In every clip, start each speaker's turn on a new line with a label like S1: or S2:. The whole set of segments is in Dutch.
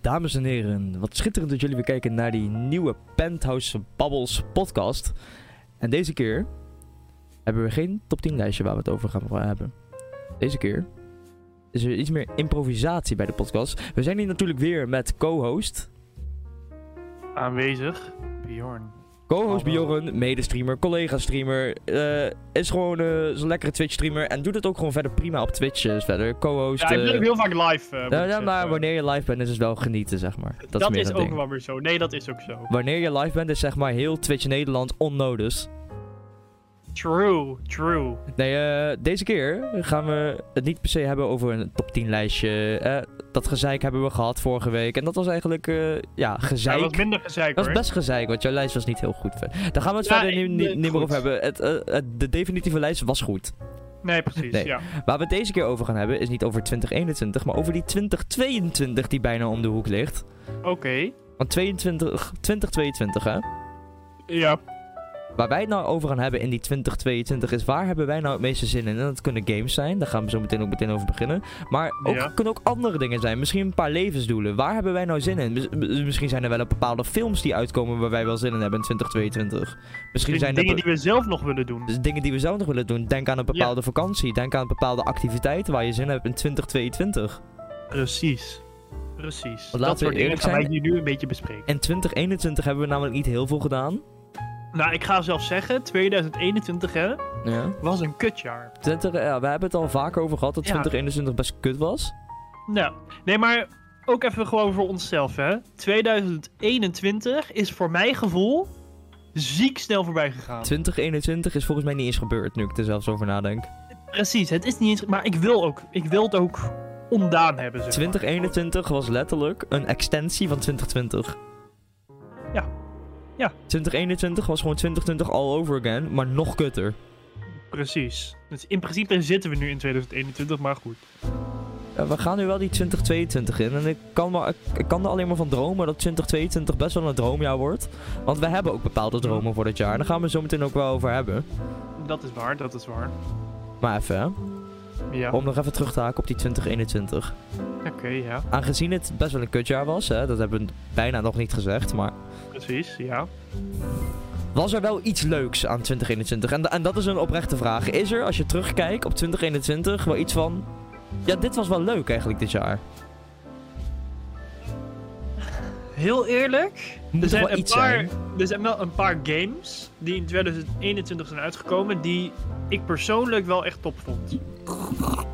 S1: Dames en heren, wat schitterend dat jullie weer kijken naar die nieuwe Penthouse Bubbles podcast. En deze keer hebben we geen top 10 lijstje waar we het over gaan hebben. Deze keer is er iets meer improvisatie bij de podcast. We zijn hier natuurlijk weer met co-host.
S2: aanwezig. Bjorn.
S1: Co-host
S2: Hallo.
S1: Bjorn, medestreamer, collega-streamer. eh, is gewoon eh, zo'n lekkere Twitch-streamer en doet het ook gewoon verder prima op Twitch. eh, verder co-host.
S2: Ja, ik ben
S1: eh,
S2: ook heel vaak live. eh, moet
S1: ja,
S2: ik
S1: ja, maar
S2: zeggen.
S1: wanneer je live bent is het wel genieten, zeg maar. Dat,
S2: dat,
S1: meer
S2: is
S1: het
S2: ook
S1: ding.
S2: wel weer zo. Nee, dat is ook zo.
S1: Wanneer je live bent is zeg maar heel Twitch Nederland onnodig.
S2: True, true.
S1: Nee, eh, deze keer gaan we het niet per se hebben over een top 10 lijstje. Eh, dat gezeik hebben we gehad vorige week. En dat was eigenlijk, eh, ja,
S2: Ja,
S1: gezeik.
S2: dat was minder gezeik
S1: Dat
S2: hoor.
S1: was best gezeik, want jouw lijst was niet heel goed. Daar gaan we het
S2: Ja,
S1: verder nu,
S2: ik-
S1: niet, niet meer
S2: goed.
S1: over hebben. Het, eh, het- de definitieve lijst was goed.
S2: Nee, precies.
S1: Nee.
S2: Ja.
S1: Waar we het deze keer over gaan hebben is niet over 2021, maar over die 2022 die bijna om de hoek ligt.
S2: Oké.
S1: Want 22, 2022 hè?
S2: Ja.
S1: Waar wij het nou over gaan hebben in die 2022 is waar hebben wij nou het meeste zin in? En dat kunnen games zijn, daar gaan we zo meteen ook meteen over beginnen. Maar ook,
S2: Ja.
S1: kunnen ook andere dingen zijn, misschien een paar levensdoelen. Waar hebben wij nou zin in? Mis- mis- misschien zijn er wel een bepaalde films die uitkomen waar wij wel zin in hebben in 2022. Misschien
S2: Dus
S1: zijn
S2: dingen
S1: er be-
S2: die we zelf nog willen doen.
S1: dus dingen die we zelf nog willen doen. Denk aan een bepaalde vakantie, denk aan bepaalde activiteiten waar je zin in hebt in 2022.
S2: Precies. Precies.
S1: we
S2: dat soort dingen
S1: eerlijk
S2: gaan wij
S1: zijn-
S2: hier nu een beetje bespreken.
S1: In 2021 hebben we namelijk niet heel veel gedaan.
S2: Nou, ik ga zelf zeggen, 2021 hè,
S1: Ja.
S2: was een kutjaar.
S1: 20, ja, we hebben het al vaker over gehad dat
S2: Ja.
S1: 2021 best kut was.
S2: Nou, nee, maar ook even gewoon voor onszelf hè. 2021 is voor mijn gevoel ziek snel voorbij gegaan.
S1: 2021 is volgens mij niet eens gebeurd, nu ik er zelfs over nadenk.
S2: Precies, het is niet eens. Maar ik wil, ook, ik wil het ook ondaan hebben. Zeg maar.
S1: 2021 was letterlijk een extensie van 2020.
S2: Ja. Ja.
S1: 2021 was gewoon 2020 all over again, maar nog kutter.
S2: Precies. Dus in principe zitten we nu in 2021, maar goed.
S1: Ja, Eh, we gaan nu wel die 2022 in en ik kan, maar, ik, ik kan er alleen maar van dromen dat 2022 best wel een droomjaar wordt. Want we hebben ook bepaalde dromen voor dit jaar en daar gaan we het zo meteen ook wel over hebben.
S2: Dat is waar, dat is waar.
S1: Maar even, hè,
S2: Ja,
S1: om nog even terug te haken op die 2021.
S2: oké, ja.
S1: Aangezien het best wel een kutjaar was, hè, dat hebben we bijna nog niet gezegd, maar...
S2: Precies, ja.
S1: Was er wel iets leuks aan 2021? En, en dat is een oprechte vraag. Is er, als je terugkijkt op 2021, wel iets van... Ja, dit was wel leuk eigenlijk dit jaar.
S2: Heel eerlijk,
S1: Moet
S2: er
S1: er
S2: zijn,
S1: wel
S2: een
S1: iets
S2: paar,
S1: zijn?
S2: er zijn wel een paar games die in 2021 zijn uitgekomen die ik persoonlijk wel echt top vond. Oké,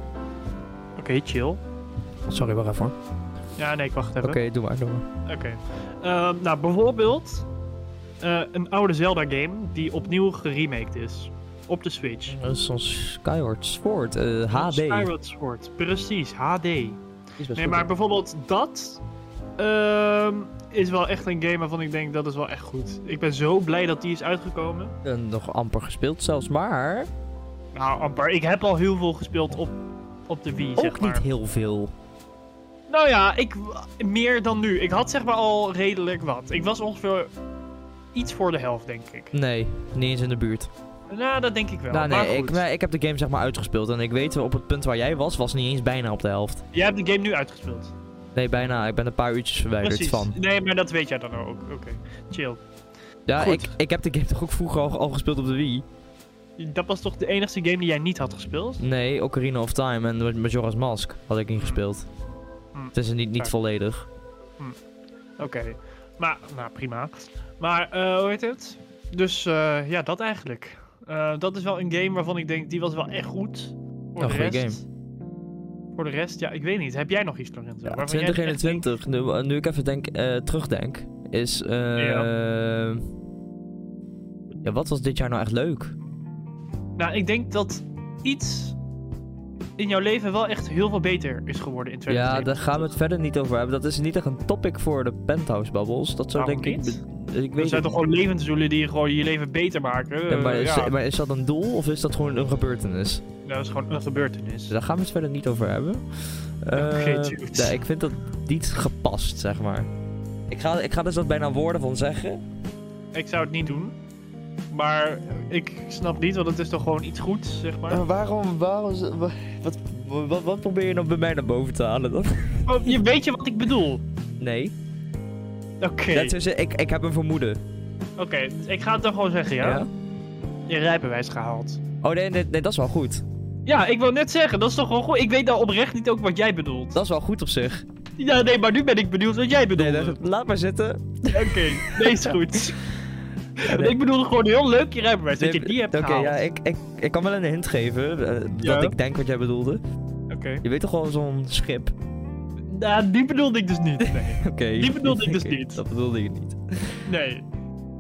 S2: chill.
S1: Sorry, wacht even. Oké,
S2: Ja, nee, ik wacht even.
S1: doe maar, doe maar.
S2: Oké. Ehm, nou, bijvoorbeeld eh, een oude Zelda-game die opnieuw geremaked is. Op de Switch.
S1: Dat is zo'n Skyward Sword. eh, HD.
S2: Skyward Sword. Precies, HD.
S1: Is best
S2: Nee,
S1: goed.
S2: maar bijvoorbeeld dat ehm, is wel echt een game waarvan ik denk dat is wel echt goed. Ik ben zo blij dat die is uitgekomen.
S1: Eh, nog amper gespeeld zelfs, maar...
S2: Nou, amper. Ik heb al heel veel gespeeld op, op de Wii, zeg
S1: ook
S2: maar.
S1: niet heel veel.
S2: Nou ja, ik, meer dan nu. Ik had zeg maar al redelijk wat. Ik was ongeveer iets voor de helft, denk ik.
S1: Nee, niet eens in de buurt.
S2: Nou, dat denk ik wel.
S1: nou,
S2: maar
S1: nee, ik,
S2: goed.
S1: maar ik heb de game zeg maar uitgespeeld. En ik weet, op het punt waar jij was, was niet eens bijna op de helft.
S2: Jij hebt de game nu uitgespeeld.
S1: Nee, bijna. Ik ben een paar uurtjes verwijderd
S2: Precies.
S1: van.
S2: Nee, maar dat weet jij dan ook. Oké, chill.
S1: Ja,
S2: Goed.
S1: ik, ik heb de game toch ook vroeger al, al gespeeld op de Wii?
S2: Dat was toch de enige game die jij niet had gespeeld?
S1: Nee, Ocarina of Time en Majora's Mask had ik niet gespeeld.
S2: Hm.
S1: Het is niet, niet
S2: Ja.
S1: volledig.
S2: Oké. Maar, nou prima. Maar, eh, hoe heet het? Dus, eh, ja, dat eigenlijk. Eh, dat is wel een game waarvan ik denk, die was wel echt goed. Voor
S1: Een
S2: de
S1: goede
S2: rest. Voor de rest, ja, ik weet niet. Heb jij nog iets, Lorenzo?
S1: Ja,
S2: waarvan jij echt denkt-
S1: 2021, nu, nu ik even denk, eh, terugdenk, is... eh, ja, wat was dit jaar nou echt leuk?
S2: Nou, ik denk dat iets in jouw leven wel echt heel veel beter is geworden in
S1: Ja,
S2: 2020.
S1: daar gaan we het verder niet over hebben. Dat is niet echt een topic voor de Penthouse Bubbles. Dat zou
S2: Waarom
S1: denk ik...
S2: niet?
S1: be- Ik
S2: Dat
S1: weet
S2: zijn
S1: het
S2: toch
S1: niet.
S2: gewoon levensdoelen die gewoon je leven beter maken?
S1: Ja, maar,
S2: Eh,
S1: is,
S2: ja.
S1: maar is dat een doel of is dat gewoon een gebeurtenis?
S2: Ja, Nou, Dat is gewoon een gebeurtenis.
S1: Dus daar gaan we het verder niet over hebben. Eh,
S2: Oké, dude.
S1: nee, ik vind dat niet gepast, zeg maar. Ik ga, ik ga dus dat bijna woorden van zeggen.
S2: Ik zou het niet doen. Maar ik snap niet, want het is toch gewoon iets goeds, zeg maar.
S1: Oh. Eh, waarom, waarom, wat, wat, wat probeer je nou bij mij naar boven te halen dan?
S2: Oh, je weet je wat ik bedoel?
S1: Nee.
S2: Oké,
S1: Dat is, dus, ik, ik heb een vermoeden.
S2: oké. dus Ik ga het dan gewoon zeggen, ja? Je rijbewijs gehaald.
S1: Oh nee, nee, nee, dat is wel goed.
S2: Ja, ik wil net zeggen, dat is toch wel goed. Ik weet nou oprecht niet ook wat jij bedoelt.
S1: Dat is wel goed op zich.
S2: Ja, nee, maar nu ben ik benieuwd wat jij bedoelt.
S1: Nee, dat- laat maar zitten.
S2: Oké, nee, is goed.
S1: Nee.
S2: Ik bedoel gewoon heel leuk je rijbewijs, dat je die hebt
S1: Oké,
S2: gehaald.
S1: ja, ik, ik, ik kan wel een hint geven. eh,
S2: Ja.
S1: Dat ik denk wat jij bedoelde.
S2: Oké.
S1: Je weet toch wel zo'n schip?
S2: Nou, die bedoelde ik dus niet, nee.
S1: Oké.
S2: Die bedoelde ik dus niet.
S1: Dat bedoelde je niet.
S2: Nee.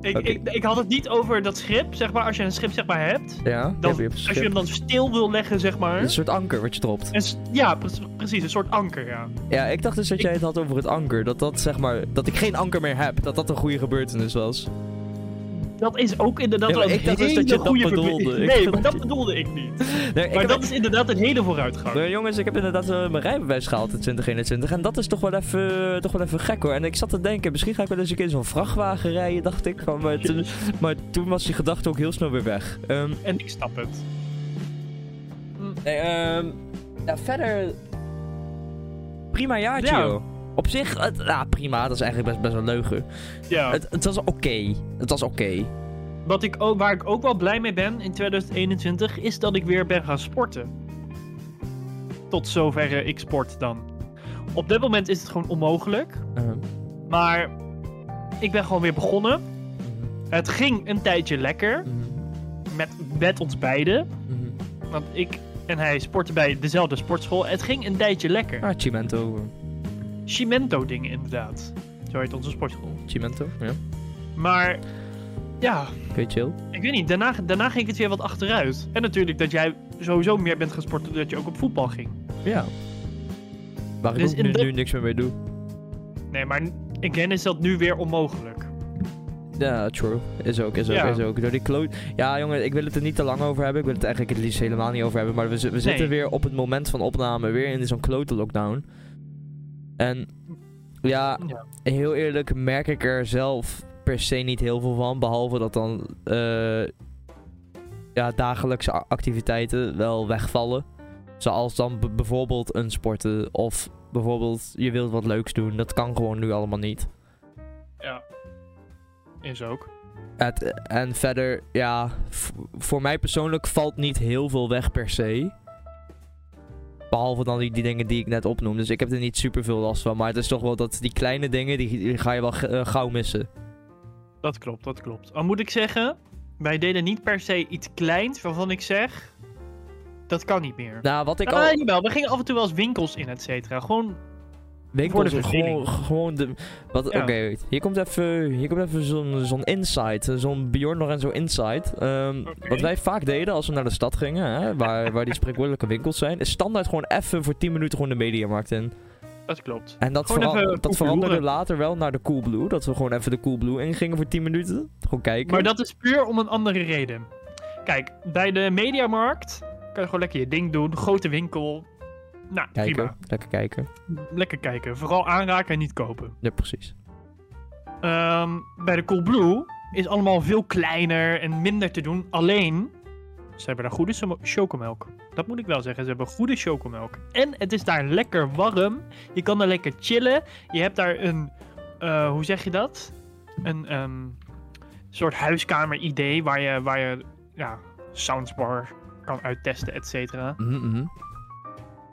S2: Ik,
S1: Oké.
S2: ik, ik had het niet over dat schip, zeg maar. Als je een schip, zeg maar, hebt.
S1: Ja, die
S2: Dan,
S1: heb je op een
S2: als je
S1: schip.
S2: hem dan stil wil leggen, zeg maar.
S1: Een soort anker wat je dropt.
S2: Een s- ja, pre- precies. Een soort anker, ja.
S1: Ja, ik dacht dus dat jij het had over het anker. Dat dat zeg maar, dat ik geen anker meer heb. Dat dat een goede gebeurtenis was.
S2: Dat is ook inderdaad
S1: Ja, maar
S2: wel een
S1: ik dacht dus
S2: hele
S1: dat je dat
S2: goede
S1: bedoelde.
S2: verbe-
S1: Ik
S2: Nee,
S1: dacht
S2: maar dat
S1: dat je-
S2: bedoelde ik niet.
S1: Nee, ik
S2: Maar
S1: heb-
S2: dat is inderdaad een hele vooruitgang.
S1: Nee, jongens, ik heb inderdaad eh, mijn rijbewijs gehaald in 2021. En dat is toch wel, even, eh, toch wel even gek hoor. En ik zat te denken, misschien ga ik wel eens een keer in zo'n vrachtwagen rijden, dacht ik. Van, maar, toen, maar toen was die gedachte ook heel snel weer weg. Ehm,
S2: En ik snap het.
S1: nee, ehm, ja, verder. Prima jaartje,
S2: Ja.
S1: joh. Op zich, het, ja, prima. Dat is eigenlijk best, best een leugen.
S2: Ja.
S1: Het, het was oké. Het was oké. Ehm,
S2: Wat ik ook, waar ik ook wel blij mee ben in 2021 is dat ik weer ben gaan sporten. Tot zoverre ik sport dan. Op dit moment is het gewoon onmogelijk.
S1: Ehm,
S2: Maar ik ben gewoon weer begonnen. Het ging een tijdje lekker.
S1: mhm,
S2: Met, met ons beiden.
S1: mhm.
S2: Want ik en hij sporten bij dezelfde sportschool. Het ging een tijdje lekker.
S1: Ah, Cimento.
S2: Cimento dingen inderdaad. Zo heet onze sportschool.
S1: Cimento, ja.
S2: Maar ja,
S1: Oké, chill.
S2: ik weet niet. Daarna, daarna ging het weer wat achteruit. En natuurlijk dat jij sowieso meer bent gaan sporten doordat je ook op voetbal ging.
S1: Ja. Waar
S2: Dus
S1: ik ook
S2: in
S1: nu,
S2: dat-
S1: nu niks meer mee doe.
S2: Nee, maar again is dat nu weer onmogelijk.
S1: Ja, true. Is ook, is ook,
S2: Ja.
S1: is ook. Door die kloot... Ja, jongen, ik wil het er niet te lang over hebben. Ik wil het eigenlijk het liefst helemaal niet over hebben. Maar we, zi- we zitten weer op het moment van opname weer in zo'n klote lockdown. En ja,
S2: Ja.
S1: heel eerlijk merk ik er zelf per se niet heel veel van. Behalve dat dan eh, ja, dagelijkse a- activiteiten wel wegvallen. Zoals dan b- bijvoorbeeld een sporten of bijvoorbeeld je wilt wat leuks doen. Dat kan gewoon nu allemaal niet.
S2: Is ook.
S1: Het- en verder, ja, v- voor mij persoonlijk valt niet heel veel weg per se. Behalve dan die, die dingen die ik net opnoem. Dus ik heb er niet super veel last van. Maar het is toch wel dat die kleine dingen, die, die ga je wel g- eh, gauw missen.
S2: Dat klopt, dat klopt. Al moet ik zeggen, wij deden niet per se iets kleins waarvan ik zeg, dat kan niet meer.
S1: Nou, wat ik
S2: Ah,
S1: al...
S2: jawel, we gingen af en toe wel eens winkels in, et cetera. Gewoon, voor de
S1: Winkels, gewoon,
S2: verveling.
S1: gewoon de... Wat,
S2: Ja.
S1: Oké, hier komt even, hier komt even zo'n, zo'n insight. eh, Zo'n Bjorn Lorenzo insight. Ehm,
S2: Oké.
S1: Wat wij vaak deden als we naar de stad gingen, hè, waar, waar die spreekwoordelijke winkels zijn, is standaard gewoon even voor 10 minuten gewoon de mediamarkt in.
S2: dat klopt.
S1: En dat,
S2: Gewoon
S1: vera-
S2: even
S1: dat
S2: Coolblue
S1: veranderde
S2: horen.
S1: later wel naar de Coolblue. Dat we gewoon even de Coolblue ingingen voor 10 minuten. Gewoon kijken.
S2: Maar dat is puur om een andere reden. Kijk, bij de Mediamarkt kan je gewoon lekker je ding doen. Grote winkel. Nou,
S1: kijken.
S2: prima.
S1: Lekker kijken.
S2: Lekker kijken. Vooral aanraken en niet kopen.
S1: Ja, precies.
S2: Ehm, bij de Coolblue is allemaal veel kleiner en minder te doen. Alleen, ze hebben daar goede somo- chocomelk. Dat moet ik wel zeggen, ze hebben goede chocomelk. En het is daar lekker warm. Je kan daar lekker chillen. Je hebt daar een, eh, hoe zeg je dat? Een ehm, soort huiskamer-idee waar je, waar je ja, soundsbar kan uittesten, et cetera.
S1: Mhm.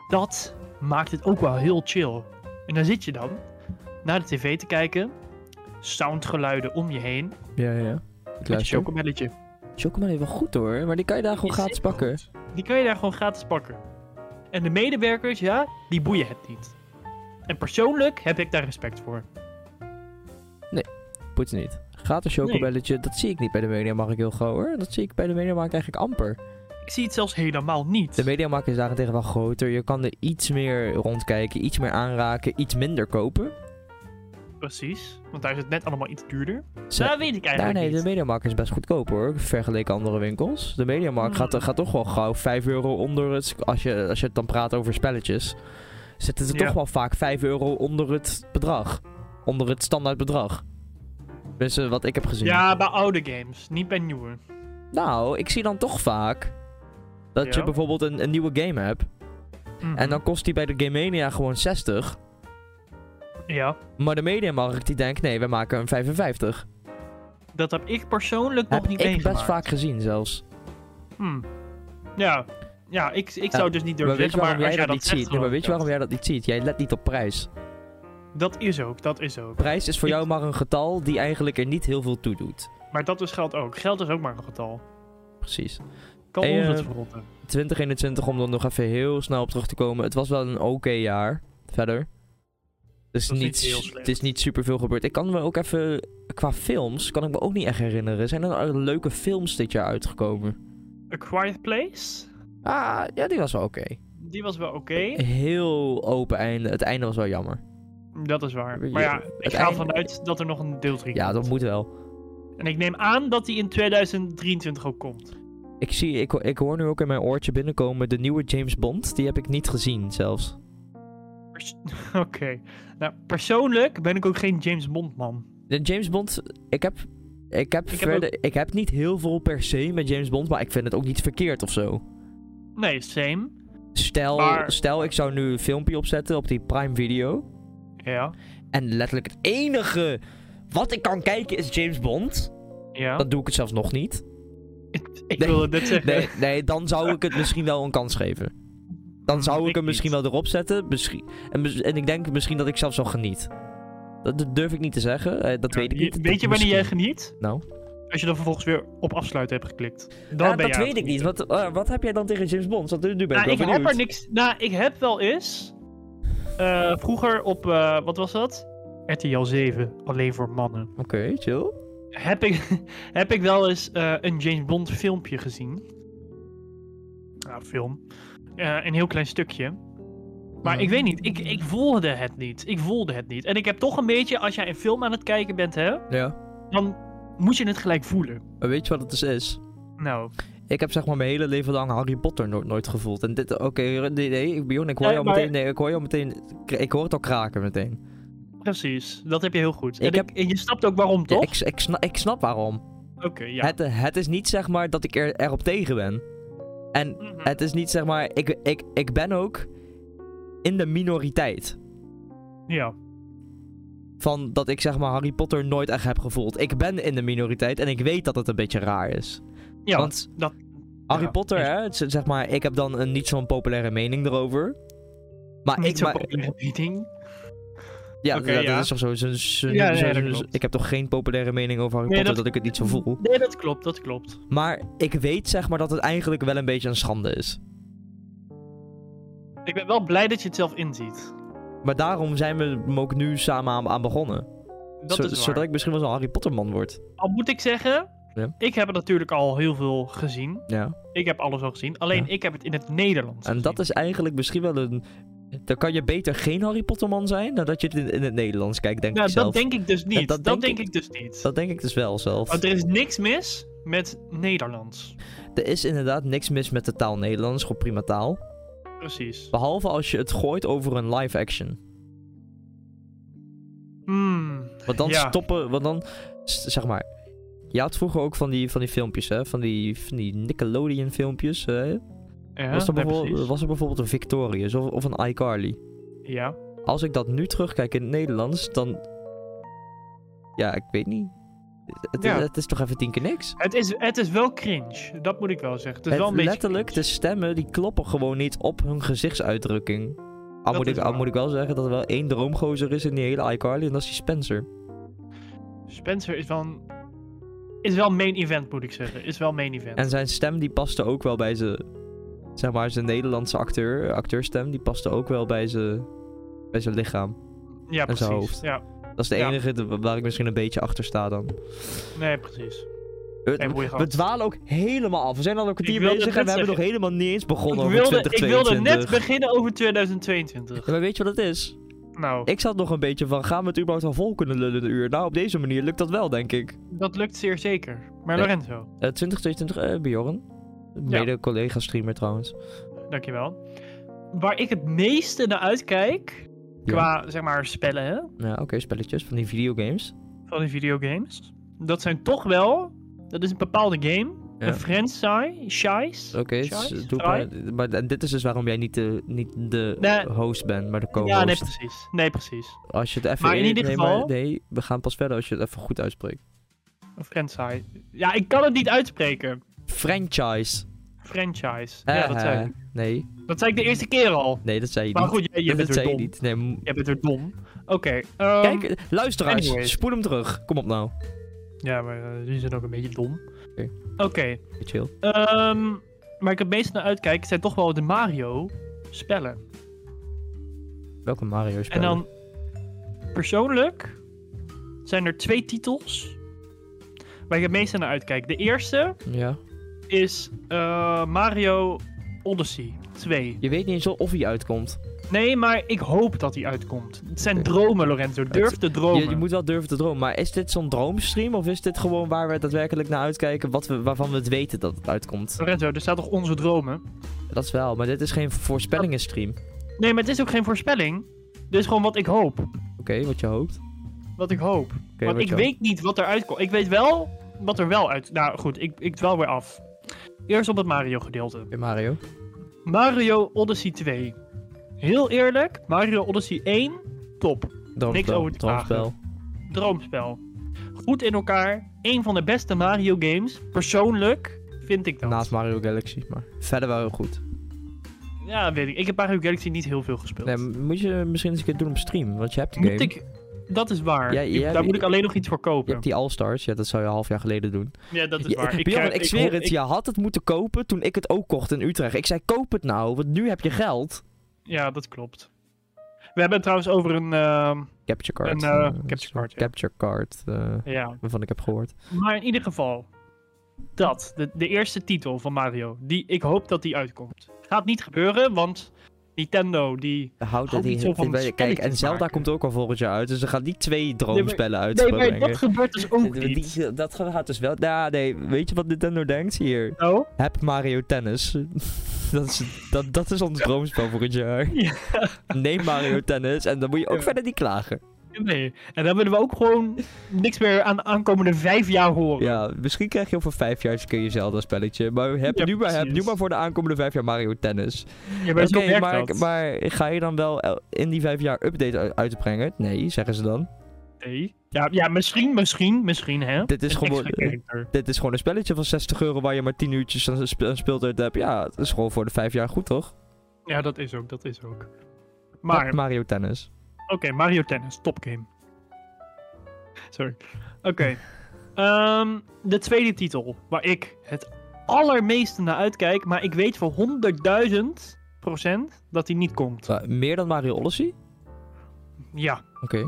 S2: Dat maakt het ook wel heel chill. En dan zit je dan naar de tv te kijken. Soundgeluiden om je heen.
S1: Ja, ja, ja. Ik
S2: Met je
S1: luister.
S2: chocomelletje.
S1: Chocomel wel goed hoor. Maar die kan je daar gewoon
S2: Is
S1: gratis
S2: zeker
S1: pakken.
S2: Die kan je daar gewoon gratis pakken. En de medewerkers, ja, die boeien het niet. En persoonlijk heb ik daar respect voor.
S1: Poets niet. Gratis chocomelletje, dat zie ik niet bij de Mediamarkt heel gauw hoor. Dat zie ik bij de Mediamarkt eigenlijk amper.
S2: Ik zie het zelfs helemaal niet.
S1: De Mediamarkt is daarentegen wel groter. Je kan er iets meer rondkijken, iets meer aanraken, iets minder kopen.
S2: Precies. Want daar is het net allemaal iets duurder.
S1: Ze-
S2: Daar weet ik
S1: Ja,
S2: eigenlijk
S1: nee, de
S2: niet.
S1: Mediamarkt is best goedkoop hoor, vergeleken andere winkels. De Mediamarkt
S2: Hmm.
S1: gaat, gaat toch wel gauw 5 euro onder het, als je, als je het dan praat over spelletjes, zitten ze
S2: Ja.
S1: toch wel vaak 5 euro onder het bedrag. Onder het standaard bedrag. Dus eh, wat ik heb gezien.
S2: Ja, bij oude games. Niet bij nieuwe.
S1: Nou, ik zie dan toch vaak dat je
S2: Ja.
S1: bijvoorbeeld een, een nieuwe game hebt
S2: Mhm.
S1: en dan kost die bij de Game Mania gewoon 60.
S2: Ja.
S1: Maar de mediamarkt die denkt, nee, we maken een 55.
S2: Dat heb ik persoonlijk nog
S1: heb ik
S2: niet
S1: best
S2: meegemaakt.
S1: vaak gezien zelfs.
S2: Hmm. Ja. Ja, ik, ik zou dus niet
S1: maar
S2: durven
S1: weet je waarom
S2: zeggen, maar als
S1: jij
S2: jij
S1: dat
S2: dat
S1: niet ziet?
S2: zegt...
S1: Nee, maar
S2: geloof
S1: weet
S2: ik
S1: je waarom
S2: dat.
S1: jij dat niet ziet? Jij let niet op prijs.
S2: Dat is ook, dat is ook.
S1: Prijs is voor
S2: Ik-
S1: jou maar een getal die eigenlijk er niet heel veel toe doet.
S2: Maar dat is geld ook. Geld is ook maar een getal.
S1: Precies.
S2: Kan
S1: Hey,
S2: ons
S1: eh,
S2: het verrotten.
S1: 2021, om dan nog even heel snel op terug te komen. Het was wel een oké jaar. Verder. Het is,
S2: Dat is
S1: niet,
S2: niet heel
S1: s-
S2: slecht.
S1: het is niet super veel gebeurd. Ik kan me ook even. Qua films kan ik me ook niet echt herinneren. Zijn er leuke films dit jaar uitgekomen?
S2: A Quiet Place?
S1: Ah, ja, die was wel oké.
S2: Die was wel oké.
S1: Heel open einde. Het einde was wel jammer.
S2: Dat is waar.
S1: Je-
S2: Maar ja, ik
S1: het
S2: ga
S1: einde-
S2: ervan uit dat er nog een deel 3
S1: Ja,
S2: komt.
S1: dat moet wel.
S2: En ik neem aan dat die in 2023 ook komt.
S1: Ik, zie, ik, ho- ik hoor nu ook in mijn oortje binnenkomen de nieuwe James Bond. Die heb ik niet gezien zelfs.
S2: Pers- Oké. Nou, persoonlijk ben ik ook geen James Bond man.
S1: De James Bond, ik heb, ik heb,
S2: heb
S1: verder, ik heb niet heel veel per se met James Bond, maar ik vind het ook niet verkeerd of zo.
S2: Nee, same.
S1: Stel,
S2: Maar-
S1: stel ik zou nu een filmpje opzetten op die Prime Video
S2: Ja.
S1: en letterlijk het enige wat ik kan kijken is James Bond,
S2: Ja.
S1: dan doe ik het zelfs nog niet.
S2: Ik, ik
S1: Nee.
S2: wilde net zeggen.
S1: Nee, nee dan zou ik het misschien wel een kans geven. Dan zou
S2: Hmm,
S1: ik,
S2: ik
S1: hem misschien wel erop zetten. Misschien, en, mis- en ik denk misschien dat ik zelfs wel geniet. Dat, dat durf ik niet te zeggen. eh, dat
S2: Ja,
S1: weet ik
S2: je-
S1: niet.
S2: Weet
S1: Dat
S2: je wanneer jij
S1: misschien.
S2: geniet?
S1: Nou?
S2: Als je dan vervolgens weer op afsluiten hebt geklikt. Dan
S1: Ja,
S2: ben
S1: dat
S2: je aan
S1: weet
S2: het
S1: ik niet.
S2: genieten.
S1: Wat, eh, wat heb jij dan tegen James Bond? Want nu ben ik
S2: Nou,
S1: wel
S2: ik
S1: benieuwd.
S2: heb er niks. Nou, ik heb wel eens. eh, vroeger op. eh, wat was dat? RTL 7, alleen voor mannen.
S1: Oké, chill.
S2: Heb ik, heb ik wel eens eh, een James Bond filmpje gezien. Nou, film. Eh, een heel klein stukje. Maar
S1: Ja.
S2: ik weet niet, ik, ik voelde het niet. Ik voelde het niet. En ik heb toch een beetje, als jij een film aan het kijken bent, hè,
S1: Ja.
S2: dan moet je het gelijk voelen.
S1: Maar weet je wat het dus is?
S2: Nou,
S1: Ik heb zeg maar mijn hele leven lang Harry Potter nooit, nooit gevoeld. En dit, oké, nee, nee, ik, Bjorn, ik hoor
S2: Nee,
S1: jou
S2: maar-
S1: meteen, nee, ik hoor jou meteen, ik hoor het al kraken meteen.
S2: precies. Dat heb je heel goed.
S1: Ik
S2: En, ik-
S1: heb-
S2: en je snapt ook waarom,
S1: Ja,
S2: toch?
S1: ik, ik, snap, ik snap waarom.
S2: Oké, ja.
S1: Het, het is niet zeg maar dat ik er, erop tegen ben. En
S2: Mhm.
S1: het is niet zeg maar, ik, ik, ik ben ook in de minoriteit.
S2: Ja,
S1: Van dat ik zeg maar Harry Potter nooit echt heb gevoeld. Ik ben in de minoriteit en ik weet dat het een beetje raar is.
S2: ja
S1: Want
S2: dat-
S1: Harry
S2: ja,
S1: Potter,
S2: is-
S1: hè, het is- zeg maar, ik heb dan een niet zo'n populaire mening erover. Maar
S2: niet
S1: ik,
S2: zo
S1: maar,
S2: populaire mening.
S1: ja,
S2: Oké,
S1: dat- dat,
S2: ja.
S1: is toch zo. zo'n- zo'n-
S2: Ja, nee,
S1: zo'n-
S2: dat
S1: zo'n-
S2: klopt.
S1: ik heb toch geen populaire mening over Harry
S2: Nee,
S1: Potter dat...
S2: dat-
S1: ik het niet zo voel.
S2: Nee, dat klopt, dat klopt.
S1: Maar ik weet zeg maar dat het eigenlijk wel een beetje een schande is.
S2: Ik ben wel blij dat je het zelf inziet.
S1: Maar daarom zijn we hem ook nu samen aan, aan begonnen.
S2: Dat
S1: Zo-
S2: is waar.
S1: Zodat ik misschien wel zo'n Harry Potter man word.
S2: Al moet ik zeggen,
S1: Ja.
S2: ik heb het natuurlijk al heel veel gezien.
S1: Ja.
S2: Ik heb alles al gezien. Alleen
S1: Ja.
S2: ik heb het in het Nederlands
S1: En dat is eigenlijk misschien wel een... Dan kan je beter geen Harry Potter man zijn dan dat je het in, in het Nederlands kijkt, denk
S2: Nou,
S1: ik zelf.
S2: dat denk Oh, ik dus niet.
S1: Ja,
S2: dat
S1: dat
S2: denk,
S1: denk
S2: ik... dus niet.
S1: Dat denk ik dus wel zelf.
S2: Want er is niks mis met Nederlands.
S1: Er is inderdaad niks mis met de taal Nederlands, gewoon prima taal.
S2: Precies.
S1: Behalve als je het gooit over een live action.
S2: Hmm,
S1: Want dan
S2: Ja.
S1: stoppen, want dan, s- zeg maar... Je had vroeger ook van die, van die filmpjes, hè? Van die, van die Nickelodeon filmpjes, hè?
S2: Ja,
S1: was, er
S2: nee,
S1: bijvoorbeeld,
S2: precies.
S1: was er bijvoorbeeld een Victorious of, of een iCarly.
S2: Ja.
S1: Als ik dat nu terugkijk in het Nederlands, dan... Ja, ik weet niet. Het,
S2: Ja.
S1: het is toch even tien keer niks?
S2: Het, is, het is wel cringe, dat moet ik wel zeggen. Het is
S1: Het-
S2: wel een beetje
S1: letterlijk, de
S2: cringe.
S1: stemmen die kloppen gewoon niet op hun gezichtsuitdrukking. Al
S2: Dat
S1: moet,
S2: is
S1: ik, al
S2: waar.
S1: moet ik wel zeggen dat er wel één droomgozer is in die hele iCarly en dat is die Spencer.
S2: Spencer is wel een... Is wel main event, moet ik zeggen. Is wel main event.
S1: En zijn stem die paste ook wel bij zijn... Zeg maar, zijn Nederlandse acteur, acteurstem, die paste ook wel bij zijn, bij zijn lichaam.
S2: ja,
S1: en
S2: precies.
S1: zijn hoofd.
S2: Ja,
S1: Dat is de
S2: Ja.
S1: enige de- waar ik misschien een beetje achter sta dan.
S2: nee, precies.
S1: We,
S2: Nee, boeien
S1: we
S2: gast.
S1: dwalen ook helemaal af. We zijn al een kwartier
S2: Ik wilde
S1: bezig en we
S2: het net
S1: hebben nog helemaal niet eens begonnen
S2: ik,
S1: over
S2: wilde, ik wilde
S1: 2022.
S2: net beginnen over 2022.
S1: Ja, maar weet je wat het is?
S2: Nou,
S1: Ik zat nog een beetje van, gaan we het überhaupt al vol kunnen lullen een uur? Nou, op deze manier lukt dat wel, denk ik.
S2: dat lukt zeer zeker. Maar
S1: Nee.
S2: Lorenzo,
S1: Eh 2022, eh Bjorn. Mede collega streamer trouwens.
S2: dankjewel. Waar ik het meeste naar uitkijk, qua zeg maar spellen hè,
S1: Ja, oké, spelletjes van die videogames.
S2: van die videogames, dat zijn toch wel, dat is een bepaalde game Een French Shies.
S1: Oké,
S2: Shies?
S1: s- doe
S2: Fry?
S1: maar. maar en dit is dus waarom jij niet de, niet de
S2: Nee.
S1: host bent, maar de co-host.
S2: Ja, nee, precies. Nee, precies.
S1: Als je het even
S2: Maar in
S1: eerlijk-
S2: ieder
S1: nee, maar-
S2: geval-
S1: nee, we gaan pas verder als je het even goed uitspreekt.
S2: Een franchise. Ja, ik kan het niet uitspreken.
S1: Franchise.
S2: Franchise. Ja, dat
S1: Eh,
S2: zei
S1: eh,
S2: ik.
S1: Nee,
S2: Dat zei ik de eerste keer al.
S1: nee, dat zei je
S2: Maar
S1: niet.
S2: goed, jij, jij
S1: dat
S2: bent weer
S1: zei je
S2: dom.
S1: niet. Nee, m-
S2: Jij bent weer dom. Oké. ehm,
S1: Kijk, luisteraars,
S2: anyways.
S1: spoel hem terug. Kom op nou.
S2: Ja, maar eh, die zijn ook een beetje dom.
S1: Oké.
S2: Oké.
S1: Chill.
S2: ehm, waar ik het meest naar uitkijk zijn toch wel de Mario spellen.
S1: Welke Mario spel?
S2: En dan persoonlijk zijn er twee titels waar ik het meest naar uitkijk. De eerste
S1: Ja.
S2: is eh, Mario Odyssey 2.
S1: Je weet niet eens of hij uitkomt.
S2: Nee, maar ik hoop dat hij uitkomt. Het zijn
S1: Oké.
S2: dromen, Lorenzo. Durf te dromen.
S1: Je, je moet wel durven te dromen. Maar is dit zo'n droomstream? Of is dit gewoon waar we daadwerkelijk naar uitkijken? Wat we, waarvan we het weten dat het uitkomt?
S2: Lorenzo, er staat toch onze dromen?
S1: Dat is wel, maar dit is geen voorspellingenstream. Oké,
S2: Nee, maar het is ook geen voorspelling. Dit is gewoon wat ik hoop.
S1: wat je hoopt.
S2: Wat ik hoop.
S1: Oké,
S2: Want
S1: wat
S2: ik
S1: je
S2: weet niet wat eruit komt. Ik weet wel wat er wel uit... Nou goed, ik, ik dwaal weer af. Eerst op het Mario gedeelte.
S1: hoopt. Oké, Mario.
S2: Mario Odyssey 2. Heel eerlijk, Mario Odyssey 1, top.
S1: Droomspel.
S2: Niks over te
S1: Droomspel.
S2: Droomspel. Goed in elkaar. Een van de beste Mario games. Persoonlijk vind ik dat.
S1: Naast Mario Galaxy, maar verder wel heel goed.
S2: Ja, weet ik. Ik heb Mario Galaxy niet heel veel gespeeld.
S1: Nee, m- moet je misschien eens een keer doen op stream, want je hebt de game.
S2: moet ik... Dat is waar.
S1: Ja,
S2: Ik-
S1: jij-
S2: Daar moet ik alleen nog iets voor
S1: Je
S2: kopen.
S1: hebt die All-Stars, ja, dat zou je een half jaar geleden doen.
S2: Ja, dat is
S1: Je-
S2: waar.
S1: Bjorn,
S2: krijg-
S1: ik zweer
S2: hoor-
S1: het,
S2: ik-
S1: je had het moeten kopen toen ik het ook kocht in Utrecht. Ik zei, koop het nou, want nu heb je geld.
S2: Ja, dat klopt. We hebben het trouwens over een... ehm,
S1: Capture
S2: Een,
S1: card.
S2: eh,
S1: eh,
S2: capture
S1: een soort
S2: card, ja.
S1: Capture card, eh,
S2: ja.
S1: waarvan ik heb gehoord.
S2: Maar in ieder geval... Dat. De, de eerste titel van Mario. Die, ik hoop dat die uitkomt. Gaat niet gebeuren, want... Nintendo, die...
S1: Houd
S2: Hou
S1: die,
S2: niet zo
S1: die-
S2: van
S1: kijk, en
S2: spelletjes
S1: Zelda
S2: maken.
S1: komt ook al volgend jaar uit, dus er gaan niet twee droomspellen uit.
S2: Nee, maar dat gebeurt dus ook
S1: Die-
S2: niet.
S1: die- dat gaat dus wel. Nou, nee, weet je wat Nintendo denkt? Hier,
S2: Oh?
S1: heb Mario Tennis. dat, is, dat, dat is ons droomspel voor het jaar.
S2: Ja.
S1: Neem Mario Tennis en dan moet je ook
S2: Ja.
S1: verder niet klagen.
S2: Nee. En dan willen we ook gewoon niks meer aan de aankomende vijf jaar horen.
S1: Ja, misschien krijg je over vijf jaar eens een keer je Zelda-spelletje. Maar heb,
S2: Ja,
S1: nu maar, heb nu
S2: precies.
S1: maar voor de aankomende vijf jaar Mario Tennis.
S2: Ja, maar zo werkt
S1: maar,
S2: dat.
S1: maar ga je dan wel el- in die vijf jaar update u- uitbrengen? Nee, zeggen ze dan.
S2: Nee. Ja, ja, misschien, misschien, misschien, hè.
S1: Dit is
S2: Een
S1: gewoon-
S2: extra character.
S1: Dit is gewoon een spelletje van 60 euro waar je maar 10 uurtjes aan spe- aan speeltijd hebt. Ja, dat is gewoon voor de vijf jaar goed, toch?
S2: Ja, dat is ook, dat is ook. Maar,
S1: Heb Mario Tennis.
S2: oké, Mario Tennis, topgame. Sorry. Oké. Ehm, de tweede titel, waar ik het allermeeste naar uitkijk, maar ik weet voor 100.000 procent dat die niet komt.
S1: Wa- meer dan Mario Odyssey?
S2: Ja,
S1: Oké.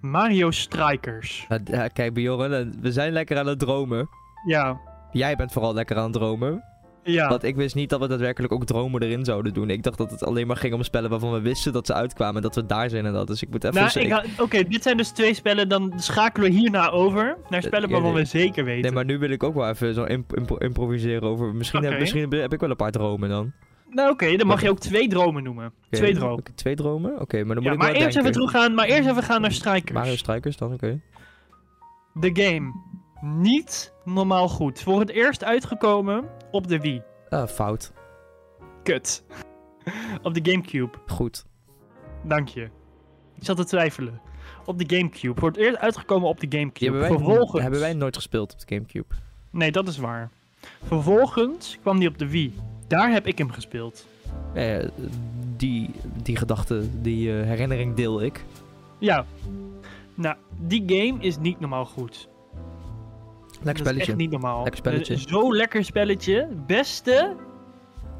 S2: Mario Strikers.
S1: Ja, d- ja, kijk, Bjorn, eh, we zijn lekker aan het dromen.
S2: Ja,
S1: Jij bent vooral lekker aan het dromen.
S2: ja.
S1: Want ik wist niet dat we daadwerkelijk ook dromen erin zouden doen. Ik dacht dat het alleen maar ging om spellen waarvan we wisten dat ze uitkwamen. Dat we daar zijn en dat. Dus ik moet even...
S2: Nou,
S1: eens-
S2: ik
S1: ik-
S2: ha- Oké, dit zijn dus twee spellen, dan schakelen we hierna over naar spellen
S1: Eh, ja,
S2: waarvan
S1: nee.
S2: we zeker weten.
S1: Nee, maar nu wil ik ook wel even zo imp- imp- improviseren over... Misschien, heb,
S2: Oké.
S1: misschien heb ik wel een paar dromen dan. Oké.
S2: Nou oké, dan mag je ook twee dromen noemen. Twee dromen.
S1: Oké, twee dromen? Oké, maar dan moet
S2: Ja,
S1: ik
S2: maar
S1: wel
S2: eerst
S1: denken.
S2: even teruggaan, maar eerst even gaan naar Strikers.
S1: Mario Strikers dan, oké.
S2: De game. Niet normaal goed. Voor het eerst uitgekomen op de Wii.
S1: Ah, fout.
S2: Kut. op de Gamecube.
S1: Goed.
S2: Dank je. Ik zat te twijfelen. Op de Gamecube. Voor het eerst uitgekomen op de
S1: Die
S2: Gamecube.
S1: hebben wij,
S2: Vervolgens.
S1: hebben wij nooit gespeeld op de Gamecube.
S2: Nee, dat is waar. Vervolgens kwam die op de Wii. Daar heb ik hem gespeeld.
S1: Eh, die, die gedachte, die eh, herinnering deel ik.
S2: Ja. Nou, die game is niet normaal goed.
S1: Lekker
S2: Dat is
S1: spelletje.
S2: echt niet normaal.
S1: Lekker spelletje.
S2: Dat is Zo lekker spelletje. Beste.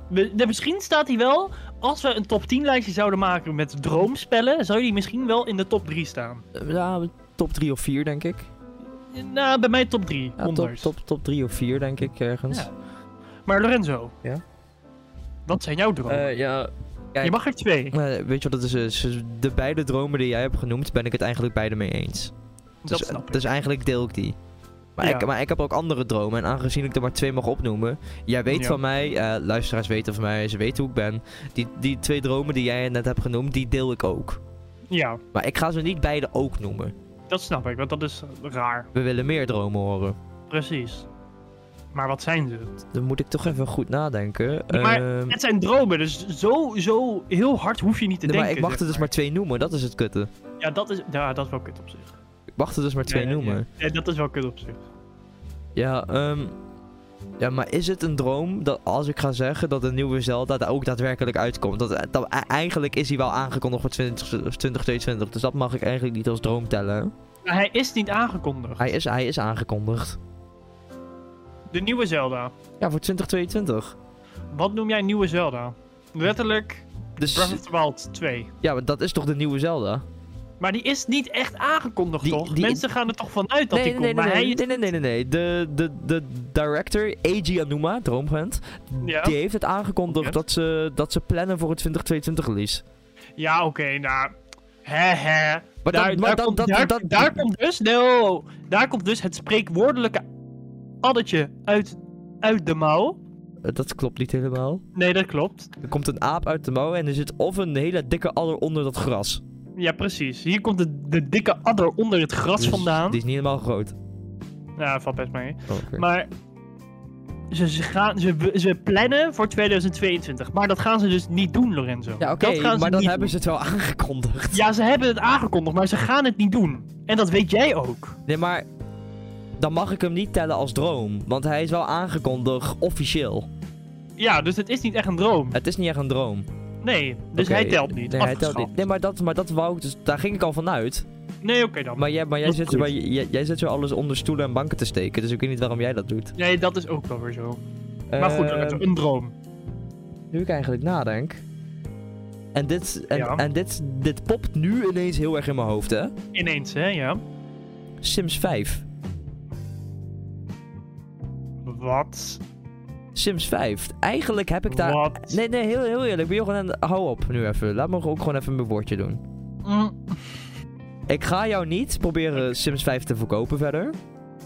S2: We- de- misschien staat hij wel. Als we een top 10 lijstje zouden maken met droomspellen, zou die misschien wel in de top 3 staan.
S1: Eh, Ja, top 3 of 4, denk ik.
S2: Nou, bij mij top 3.
S1: Ja, top, top, top 3 of 4, denk ik, ergens.
S2: Ja. Maar Lorenzo.
S1: Ja?
S2: Wat zijn jouw dromen?
S1: Eh, ja. kijk.
S2: Je mag er twee.
S1: eh, weet je wat het is? Eh, De beide dromen die jij hebt genoemd, ben ik het eigenlijk beide mee eens.
S2: Dat
S1: dus,
S2: snap ik.
S1: dus eigenlijk deel ik die. Maar,
S2: Ja.
S1: ik, maar ik heb ook andere dromen. En aangezien ik er maar twee mag opnoemen. Jij weet
S2: Ja.
S1: van mij, eh, luisteraars weten van mij, ze weten hoe ik ben. Die, die twee dromen die jij net hebt genoemd, die deel ik ook.
S2: Ja,
S1: Maar ik ga ze niet beide ook noemen.
S2: dat snap ik, want dat is raar.
S1: We willen meer dromen horen.
S2: Precies. Maar wat zijn ze?
S1: Dan moet ik toch even goed nadenken.
S2: Ja, maar
S1: Ehm,
S2: Het zijn dromen, dus zo, zo heel hard hoef je niet te
S1: nee,
S2: denken.
S1: maar ik mag
S2: zeg
S1: er dus maar twee noemen, dat is het kutte.
S2: Ja, dat is, ja, dat is wel kut op zich.
S1: Ik mag er dus maar twee
S2: Ja, ja,
S1: noemen.
S2: Ja, Ja, dat is wel kut op zich.
S1: Ja, ehm, ja, maar is het een droom dat als ik ga zeggen dat de nieuwe Zelda daar ook daadwerkelijk uitkomt? Dat, dat- e- eigenlijk is hij wel aangekondigd voor 20, 2022, dus dat mag ik eigenlijk niet als droom tellen.
S2: Maar hij is niet aangekondigd.
S1: Hij is, hij is aangekondigd.
S2: De nieuwe Zelda.
S1: Ja, voor 2022.
S2: Wat noem jij nieuwe Zelda? Letterlijk Breath
S1: Dus
S2: of the Wild 2.
S1: ja, maar dat is toch de nieuwe Zelda?
S2: Maar die is niet echt aangekondigd,
S1: Die-
S2: toch?
S1: die-
S2: Mensen gaan er toch vanuit dat
S1: nee,
S2: die
S1: nee,
S2: komt.
S1: nee,
S2: maar
S1: nee, nee,
S2: hij...
S1: nee, nee, nee, nee. De, de, de director, Eiji Anuma, droomvent,
S2: Ja.
S1: die heeft het aangekondigd
S2: Oké.
S1: dat, ze, dat ze plannen voor het 2022 release.
S2: Ja, oké, nou. Hè, hè.
S1: Maar dat-
S2: daar, daar
S1: maar dat-
S2: komt,
S1: dat-
S2: daar,
S1: dat-
S2: daar komt dus, no, daar komt dus het spreekwoordelijke addertje uit, uit de mouw.
S1: Eh, Dat klopt niet helemaal.
S2: Nee, dat klopt.
S1: Er komt een aap uit de mouw en er zit of een hele dikke adder onder dat gras.
S2: Ja, precies. Hier komt de, de dikke adder onder het gras
S1: Dus
S2: vandaan.
S1: Die is niet helemaal groot.
S2: Ja, valt best mee.
S1: Oh, oké.
S2: Maar ze, ze, gaan, ze, ze plannen voor 2022. Maar dat gaan ze dus niet doen, Lorenzo.
S1: ja, oké,
S2: dat gaan ze
S1: maar dan
S2: niet
S1: hebben
S2: doen.
S1: ze het wel aangekondigd.
S2: Ja, ze hebben het aangekondigd, maar ze gaan het niet doen. En dat weet jij ook.
S1: Nee, maar dan mag ik hem niet tellen als droom. Want hij is wel aangekondigd officieel.
S2: Ja, dus het is niet echt een droom.
S1: Het is niet echt een droom.
S2: Nee, dus
S1: Eh, Oké,
S2: hij telt niet.
S1: Nee, hij telt
S2: Afgeschaft.
S1: niet. Nee, maar dat, maar dat wou ik dus, daar ging ik al vanuit.
S2: Nee, oké dan.
S1: Maar jij, maar jij,
S2: Dat is
S1: zit,
S2: goed.
S1: maar jij, jij zit zo alles onder stoelen en banken te steken. Dus ik weet niet waarom jij dat doet.
S2: Nee, dat is ook wel weer zo. Maar goed,
S1: Ehm,
S2: Lorenzo, een droom.
S1: nu ik eigenlijk nadenk. En, dit, en,
S2: Ja.
S1: en dit, dit popt nu ineens heel erg in mijn hoofd, hè?
S2: Ineens, hè, ja.
S1: Sims 5.
S2: Wat?
S1: Sims 5. Eigenlijk heb ik daar.
S2: Wat?
S1: Nee, nee, heel, heel eerlijk. Jochen, hou op nu even. Laat me ook gewoon even mijn woordje doen.
S2: Mm,
S1: Ik ga jou niet proberen Sims 5 te verkopen verder.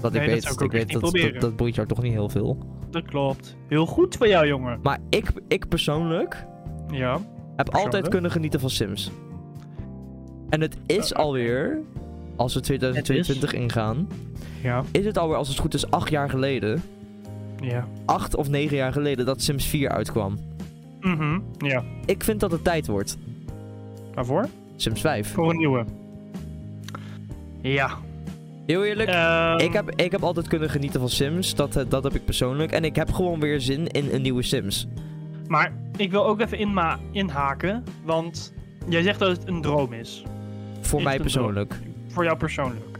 S1: Want ik
S2: Nee, dat
S1: weet,
S2: zou ik ook
S1: ik weet
S2: echt niet
S1: dat, dat,
S2: proberen.
S1: dat boeit jou toch niet heel veel.
S2: dat klopt. Heel goed voor jou, jongen.
S1: Maar ik, ik persoonlijk
S2: Ja.
S1: heb altijd
S2: Persoonlijk?
S1: kunnen genieten van Sims. En het is
S2: Eh, oké.
S1: alweer, als we 2022 ingaan,
S2: Ja.
S1: is het alweer als het goed is acht jaar geleden,
S2: Ja.
S1: acht of negen jaar geleden, dat Sims 4 uitkwam.
S2: Mhm. Ja.
S1: Ik vind dat het tijd wordt.
S2: Waarvoor?
S1: Sims 5.
S2: Voor een nieuwe. Ja.
S1: Heel eerlijk,
S2: Ehm,
S1: Ik heb, ik heb altijd kunnen genieten van Sims, dat, eh, dat heb ik persoonlijk. En ik heb gewoon weer zin in een nieuwe Sims.
S2: Maar ik wil ook even inma inhaken, want jij zegt dat het een droom is.
S1: Voor
S2: Ik
S1: mij
S2: vind
S1: persoonlijk.
S2: Voor jou persoonlijk.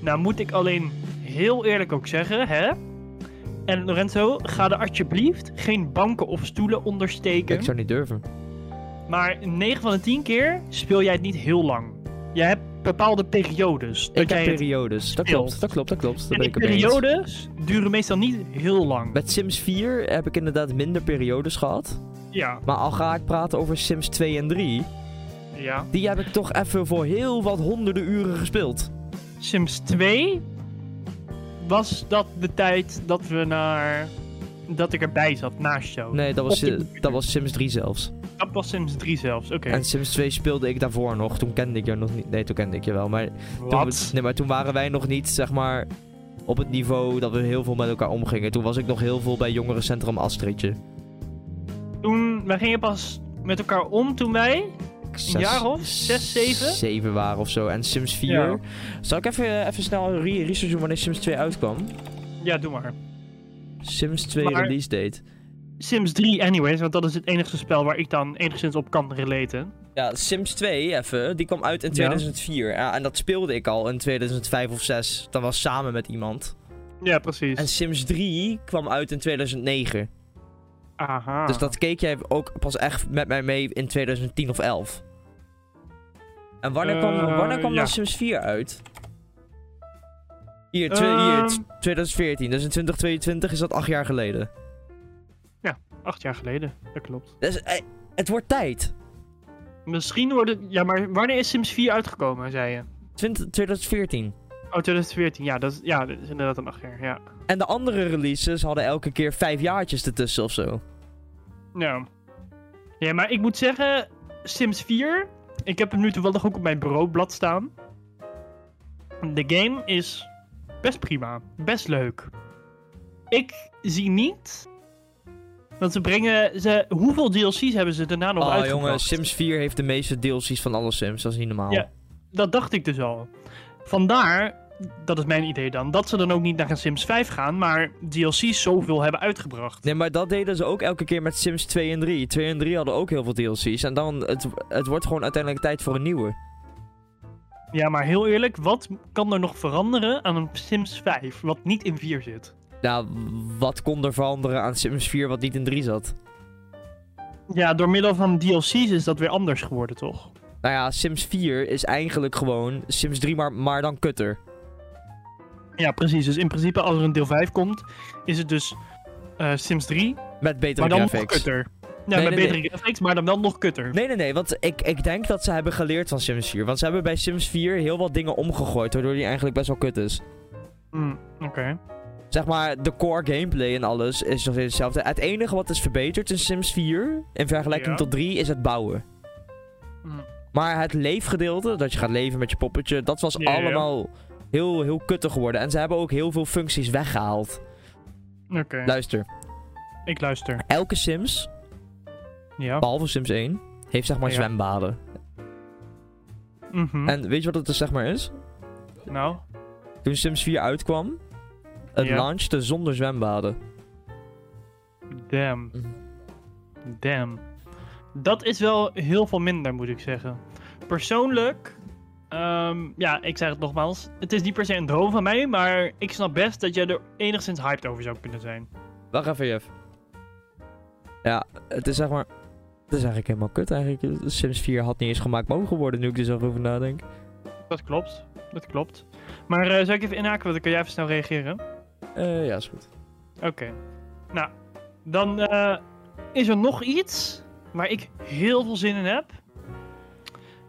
S2: Nou moet ik alleen heel eerlijk ook zeggen, hè? En Lorenzo, ga er alsjeblieft geen banken of stoelen ondersteken.
S1: Ik zou niet durven.
S2: Maar 9 van de 10 keer speel jij het niet heel lang. Je hebt bepaalde periodes. dat
S1: Ik heb
S2: jij het-
S1: periodes. Dat
S2: speelt.
S1: klopt, dat klopt, dat klopt. Dat ben
S2: en die
S1: ik het mee eens.
S2: periodes duren meestal niet heel lang.
S1: Met Sims 4 heb ik inderdaad minder periodes gehad.
S2: Ja,
S1: Maar al ga ik praten over Sims 2 en 3,
S2: ja.
S1: die heb ik toch even voor heel wat honderden uren gespeeld.
S2: Sims 2 was dat de tijd dat we naar. dat ik erbij zat naast jou.
S1: Nee, dat was,
S2: Op de
S1: Si-
S2: computer.
S1: dat was Sims 3 zelfs.
S2: Dat was Sims 3 zelfs, oké.
S1: En Sims 2 speelde ik daarvoor nog. Toen kende ik jou nog niet. Nee, toen kende ik je wel. Maar Toen we-
S2: Wat?
S1: nee, maar toen waren wij nog niet, zeg maar, op het niveau dat we heel veel met elkaar omgingen. Toen was ik nog heel veel bij jongerencentrum Astridje.
S2: Toen, wij gingen pas met elkaar om toen wij.
S1: Zes-
S2: jaar of zes, zeven?
S1: Zeven waren of zo. En Sims 4.
S2: Ja.
S1: Zal ik even, eh, even snel een re- research doen wanneer Sims 2 uitkwam?
S2: Ja, doe maar.
S1: Sims 2
S2: Maar-
S1: release date.
S2: Sims 3 anyways, want dat is het enige spel waar ik dan enigszins op kan relaten.
S1: Ja, Sims 2 even, die kwam uit in
S2: Ja.
S1: 2004. Ja. en dat speelde ik al in 2005 of 6. Dat was samen met iemand.
S2: Ja, precies.
S1: En Sims 3 kwam uit in 2009.
S2: Aha.
S1: Dus dat keek jij ook pas echt met mij mee in 2010 of 11. En wanneer kwam,
S2: Eh,
S1: wanneer kwam dan
S2: ja.
S1: Sims 4 uit? Hier, twe- hier,
S2: Ehm.
S1: t- 2014. Dus in 2022 is dat acht jaar geleden.
S2: Acht jaar geleden, dat klopt.
S1: Dus eh, het wordt tijd.
S2: Misschien worden... Ja, maar wanneer is Sims 4 uitgekomen, zei je?
S1: 20 2014.
S2: Oh, 2014. Ja, dat is, ja, dat is inderdaad een acht jaar, ja.
S1: En de andere releases hadden elke keer vijf jaartjes ertussen of zo.
S2: Nou. Ja, maar ik moet zeggen, Sims 4, ik heb hem nu toevallig ook op mijn bureaublad staan. De game is best prima, best leuk. Ik zie niet. Want ze brengen. Ze, hoeveel DLC's hebben ze daarna nog
S1: Oh
S2: uitgebracht?
S1: jongen, Sims 4 heeft de meeste DLC's van alle Sims. Dat is niet normaal.
S2: Ja. Dat dacht ik dus al. Vandaar, dat is mijn idee dan, dat ze dan ook niet naar een Sims 5 gaan, maar DLC's zoveel hebben uitgebracht.
S1: Nee, maar dat deden ze ook elke keer met Sims 2 en 3. 2 en 3 hadden ook heel veel DLC's. En dan, het, het wordt gewoon uiteindelijk tijd voor een nieuwe.
S2: Ja, maar heel eerlijk, wat kan er nog veranderen aan een Sims 5 wat niet in 4 zit?
S1: Nou, wat kon er veranderen aan Sims 4 wat niet in 3 zat?
S2: Ja, door middel van DLC's is dat weer anders geworden, toch?
S1: Nou ja, Sims 4 is eigenlijk gewoon Sims 3, maar, maar dan kutter.
S2: Ja, precies. Dus in principe, als er een deel 5 komt, is het dus eh, Sims 3,
S1: Met betere
S2: maar dan nog
S1: graphics.
S2: kutter. Ja,
S1: Nee,
S2: met
S1: nee,
S2: betere graphics, maar dan wel nog kutter.
S1: Nee, nee, nee, want ik, ik denk dat ze hebben geleerd van Sims 4. Want ze hebben bij Sims 4 heel wat dingen omgegooid, waardoor die eigenlijk best wel kut is.
S2: Hmm, Oké.
S1: Zeg maar, de core gameplay en alles is nog steeds hetzelfde. Het enige wat is verbeterd in Sims 4, in vergelijking
S2: Ja.
S1: tot 3, is het bouwen.
S2: Hmm.
S1: Maar het leefgedeelte, dat je gaat leven met je poppetje, dat was
S2: Ja, ja, ja.
S1: allemaal heel, heel kuttig geworden. En ze hebben ook heel veel functies weggehaald.
S2: Oké,
S1: Luister,
S2: ik luister.
S1: elke Sims,
S2: Ja.
S1: behalve Sims 1, heeft zeg maar
S2: Ja.
S1: zwembaden.
S2: Mhm.
S1: En weet je wat het dus zeg maar is?
S2: Nou,
S1: Toen Sims 4 uitkwam, het
S2: Ja.
S1: launchte zonder zwembaden.
S2: damn.
S1: Mhm.
S2: Damn. Dat is wel heel veel minder, moet ik zeggen. Persoonlijk, ehm, ja, ik zeg het nogmaals. Het is niet per se een droom van mij, maar ik snap best dat jij er enigszins hyped over zou kunnen zijn.
S1: Wacht even, Jeff. Ja, het is zeg maar... Het is eigenlijk helemaal kut eigenlijk. Sims 4 had niet eens gemaakt mogen worden, nu ik er zo over nadenk.
S2: Dat klopt, dat klopt. Maar eh, zou ik even inhaken, want dan kan jij even snel reageren.
S1: Eh, ja, is goed.
S2: Oké. Nou, dan eh, is er nog iets waar ik heel veel zin in heb.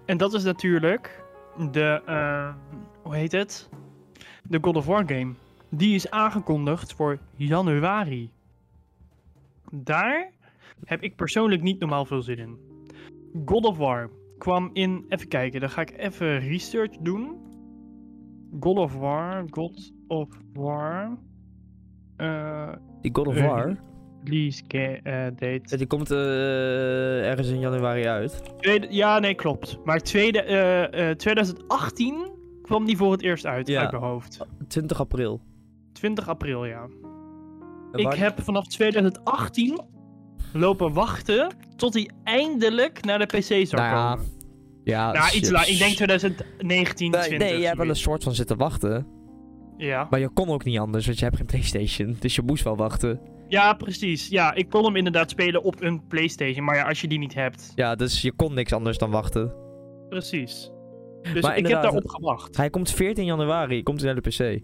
S2: En dat is natuurlijk de, eh, hoe heet het? De God of War game. Die is aangekondigd voor januari. Daar heb ik persoonlijk niet normaal veel zin in. God of War kwam in, even kijken, dan ga ik even research doen. God of War, God of War. Eh,
S1: Die God of
S2: Eh,
S1: War,
S2: release ga- eh, date.
S1: die komt eh, ergens in januari uit.
S2: Tweede- ja, nee, klopt. Maar tweede, eh, eh, 2018 kwam die voor het eerst uit,
S1: Ja.
S2: uit mijn hoofd.
S1: 20 april.
S2: 20 april, ja.
S1: En
S2: Ik
S1: waar-
S2: heb vanaf 2018 lopen wachten tot hij eindelijk naar de PC zou
S1: Nou ja,
S2: komen.
S1: Ja,
S2: Nou, iets
S1: shit.
S2: laat. Ik denk 2019,
S1: Nee,
S2: 20.
S1: nee, jij hebt wel een
S2: zoiets.
S1: soort van zitten wachten.
S2: Ja.
S1: Maar je kon ook niet anders, want je hebt geen Playstation. Dus je moest wel wachten.
S2: ja, precies. Ja, ik kon hem inderdaad spelen op een PlayStation. Maar ja, als je die niet hebt.
S1: Ja, dus je kon niks anders dan wachten.
S2: Precies. Dus
S1: Maar
S2: ik heb
S1: inderdaad,
S2: daarop
S1: het-
S2: gewacht.
S1: Hij komt 14 januari, komt hij naar de PC. Daar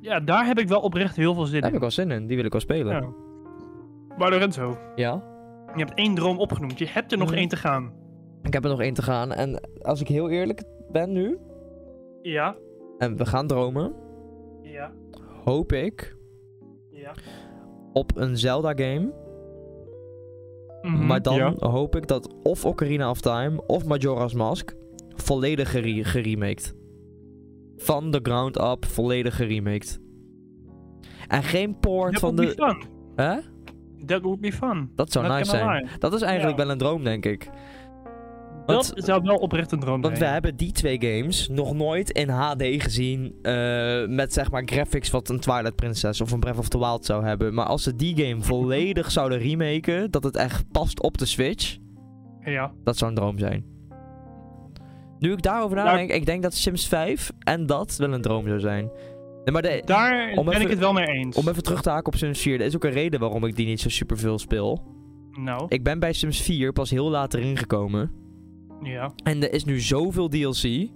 S2: Ja, daar heb ik wel oprecht heel veel zin
S1: heb
S2: in.
S1: ik wel zin in, die wil ik wel spelen.
S2: Ja. Maar Lorenzo,
S1: ja?
S2: Je hebt één droom opgenoemd. Je hebt er nog
S1: Mhm.
S2: één te gaan.
S1: Ik heb er nog één te gaan. En als ik heel eerlijk ben nu,
S2: Ja,
S1: en we gaan dromen,
S2: ja,
S1: hoop ik
S2: ja.
S1: op een Zelda-game.
S2: Mhm,
S1: Maar dan hoop ik dat of Ocarina of Time of Majora's Mask volledig gere- geremaked. Van de ground up, volledig geremaked. En geen port
S2: That
S1: van
S2: would be
S1: de.
S2: fun.
S1: Hè?
S2: That would be fun.
S1: Dat zou
S2: Not
S1: nice
S2: gonna
S1: zijn.
S2: lie.
S1: Dat is eigenlijk
S2: Ja.
S1: wel een droom, denk ik.
S2: Dat zou wel oprecht een droom
S1: Want we
S2: zijn.
S1: hebben die twee games nog nooit in HD gezien. eh, met zeg maar graphics wat een Twilight Princess of een Breath of the Wild zou hebben. Maar als ze die game volledig zouden remaken. Dat het echt past op de Switch.
S2: Ja,
S1: Dat zou een droom zijn. Nu ik daarover nadenk, ik denk dat Sims 5 en dat wel een droom zou zijn. Nee, maar de-
S2: daar
S1: Om
S2: ben
S1: even-
S2: ik het wel mee eens.
S1: om even terug te haken op Sims 4. Er is ook een reden waarom ik die niet zo super veel speel.
S2: Nou,
S1: Ik ben bij Sims 4 pas heel laat erin gekomen.
S2: ja,
S1: En er is nu zoveel DLC.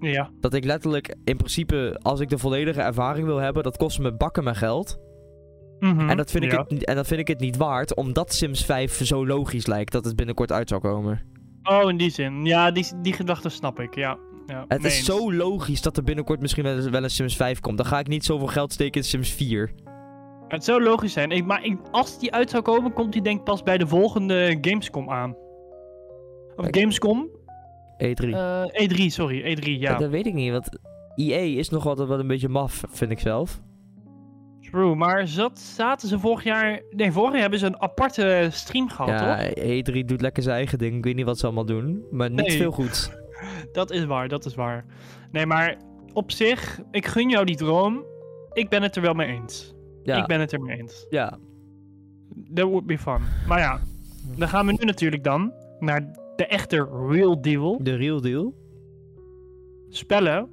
S2: ja,
S1: Dat ik letterlijk, in principe, als ik de volledige ervaring wil hebben, dat kost me bakken mijn geld.
S2: Mhm,
S1: En, dat vind ik
S2: ja.
S1: het, niet- en dat vind ik het niet waard, omdat Sims 5 zo logisch lijkt dat het binnenkort uit zou komen.
S2: Oh, in die zin. Ja, die, die gedachte snap ik, ja. ja
S1: Het
S2: mee
S1: is
S2: eens.
S1: zo logisch dat er binnenkort misschien wel eens, wel een Sims 5 komt. Dan ga ik niet zoveel geld steken in Sims 4.
S2: Het zou logisch zijn. Ik, maar ik, als die uit zou komen, komt die denk ik pas bij de volgende Gamescom aan. Of
S1: Kijk.
S2: Gamescom?
S1: E3.
S2: Eh, E3, sorry. E3, ja.
S1: E Dat weet ik niet, want EA is nog altijd wel een beetje maf, vind ik zelf.
S2: True, maar zat, zaten ze vorig jaar... Nee, vorig jaar hebben ze een aparte stream gehad, Oh, toch?
S1: ja, E3 doet lekker zijn eigen ding. Ik weet niet wat ze allemaal doen. Maar niet
S2: Nee.
S1: veel goed.
S2: Dat is waar, dat is waar. Nee, maar op zich, ik gun jou die droom. Ik ben het er wel mee eens.
S1: Ja,
S2: Ik ben het er mee eens.
S1: ja.
S2: That would be fun. Maar ja, dan gaan we nu natuurlijk dan naar de echte real deal.
S1: de real deal.
S2: Spellen,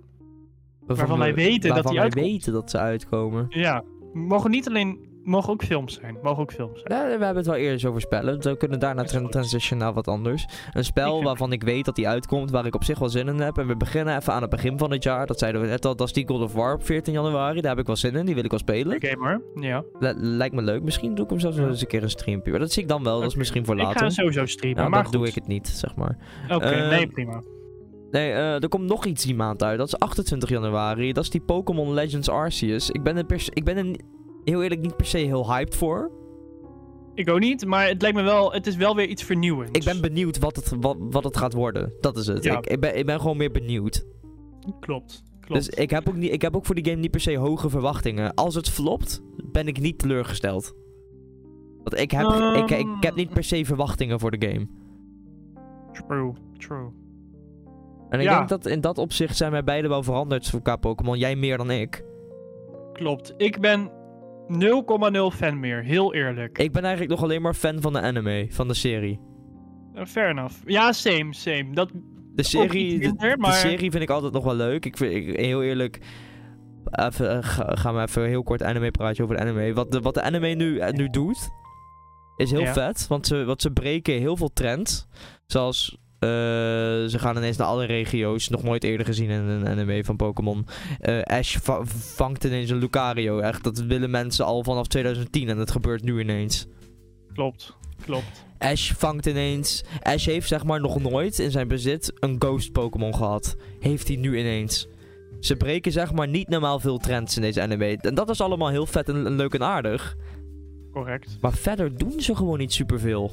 S2: Waarvan wij weten dat
S1: waarvan
S2: die
S1: wij
S2: uitkomt.
S1: weten dat ze uitkomen.
S2: ja, mogen niet alleen... Mogen ook films zijn. Mogen ook films zijn.
S1: Ja, Nou, we hebben het wel eerder eens over spellen. dus We kunnen daarna
S2: Dat is
S1: tra-
S2: goed.
S1: transition naar wat anders. Een
S2: Ik
S1: spel
S2: vind-
S1: waarvan ik weet dat die uitkomt, waar ik op zich wel zin in heb. En we beginnen even aan het begin van het jaar. Dat zeiden we net al, dat is die God of War op 14 januari. Daar heb ik wel zin in, die wil ik wel spelen.
S2: Gamer, ja.
S1: L- lijkt me leuk. Misschien doe ik hem zelfs wel eens een keer een streampje. Maar dat zie ik dan wel, dat is
S2: Oké.
S1: misschien voor
S2: Ik
S1: later.
S2: ga sowieso streamen,
S1: Nou,
S2: maar
S1: dan doe ik
S2: goed.
S1: het niet, zeg maar.
S2: Oké,
S1: Eh,
S2: nee, prima.
S1: Nee, eh, er komt nog iets die maand uit. Dat is 28 januari. Dat is die Pokémon Legends Arceus. Ik ben er, per se- ik ben er ni- heel eerlijk niet per se heel hyped voor.
S2: Ik ook niet, maar het lijkt me wel... Het is wel weer iets vernieuwends.
S1: Ik ben benieuwd wat het, wat, wat het gaat worden. Dat is het.
S2: Dus- Ja.
S1: Ik, ik, ben, ik ben gewoon meer benieuwd.
S2: Klopt, klopt.
S1: Dus ik heb, ook niet, ik heb ook voor die game niet per se hoge verwachtingen. Als het flopt, ben ik niet teleurgesteld. Want ik heb, ik, ik
S2: Ehm.
S1: heb niet per se verwachtingen voor de game.
S2: True, true.
S1: En ik
S2: Ja.
S1: denk dat in dat opzicht zijn wij beiden wel veranderd qua Pokémon. Jij meer dan ik.
S2: Klopt. Ik ben 0,0 fan meer, heel eerlijk.
S1: Ik ben eigenlijk nog alleen maar fan van de anime, van de serie.
S2: Eh, Fair enough. Ja, same, same. Dat
S1: De serie, de,
S2: minder,
S1: de
S2: maar-
S1: serie vind ik altijd nog wel leuk. Ik vind, ik, heel eerlijk, even, eh, ga- gaan we even heel kort anime praatje over de anime. Wat de, wat de anime nu, eh, nu doet, is heel
S2: Ja.
S1: vet. Want ze, want ze breken heel veel trends. Zoals, eh, ze gaan ineens naar alle regio's. Nog nooit eerder gezien in een anime van Pokémon. Eh, Ash va- vangt ineens een Lucario. Echt, dat willen mensen al vanaf 2010 en dat gebeurt nu ineens.
S2: klopt, klopt.
S1: Ash vangt ineens. Ash heeft zeg maar nog nooit in zijn bezit een ghost Pokémon gehad. Heeft hij nu ineens. Ze breken zeg maar niet normaal veel trends in deze anime. En dat is allemaal heel vet en, en leuk en aardig.
S2: Correct.
S1: Maar verder doen ze gewoon niet superveel.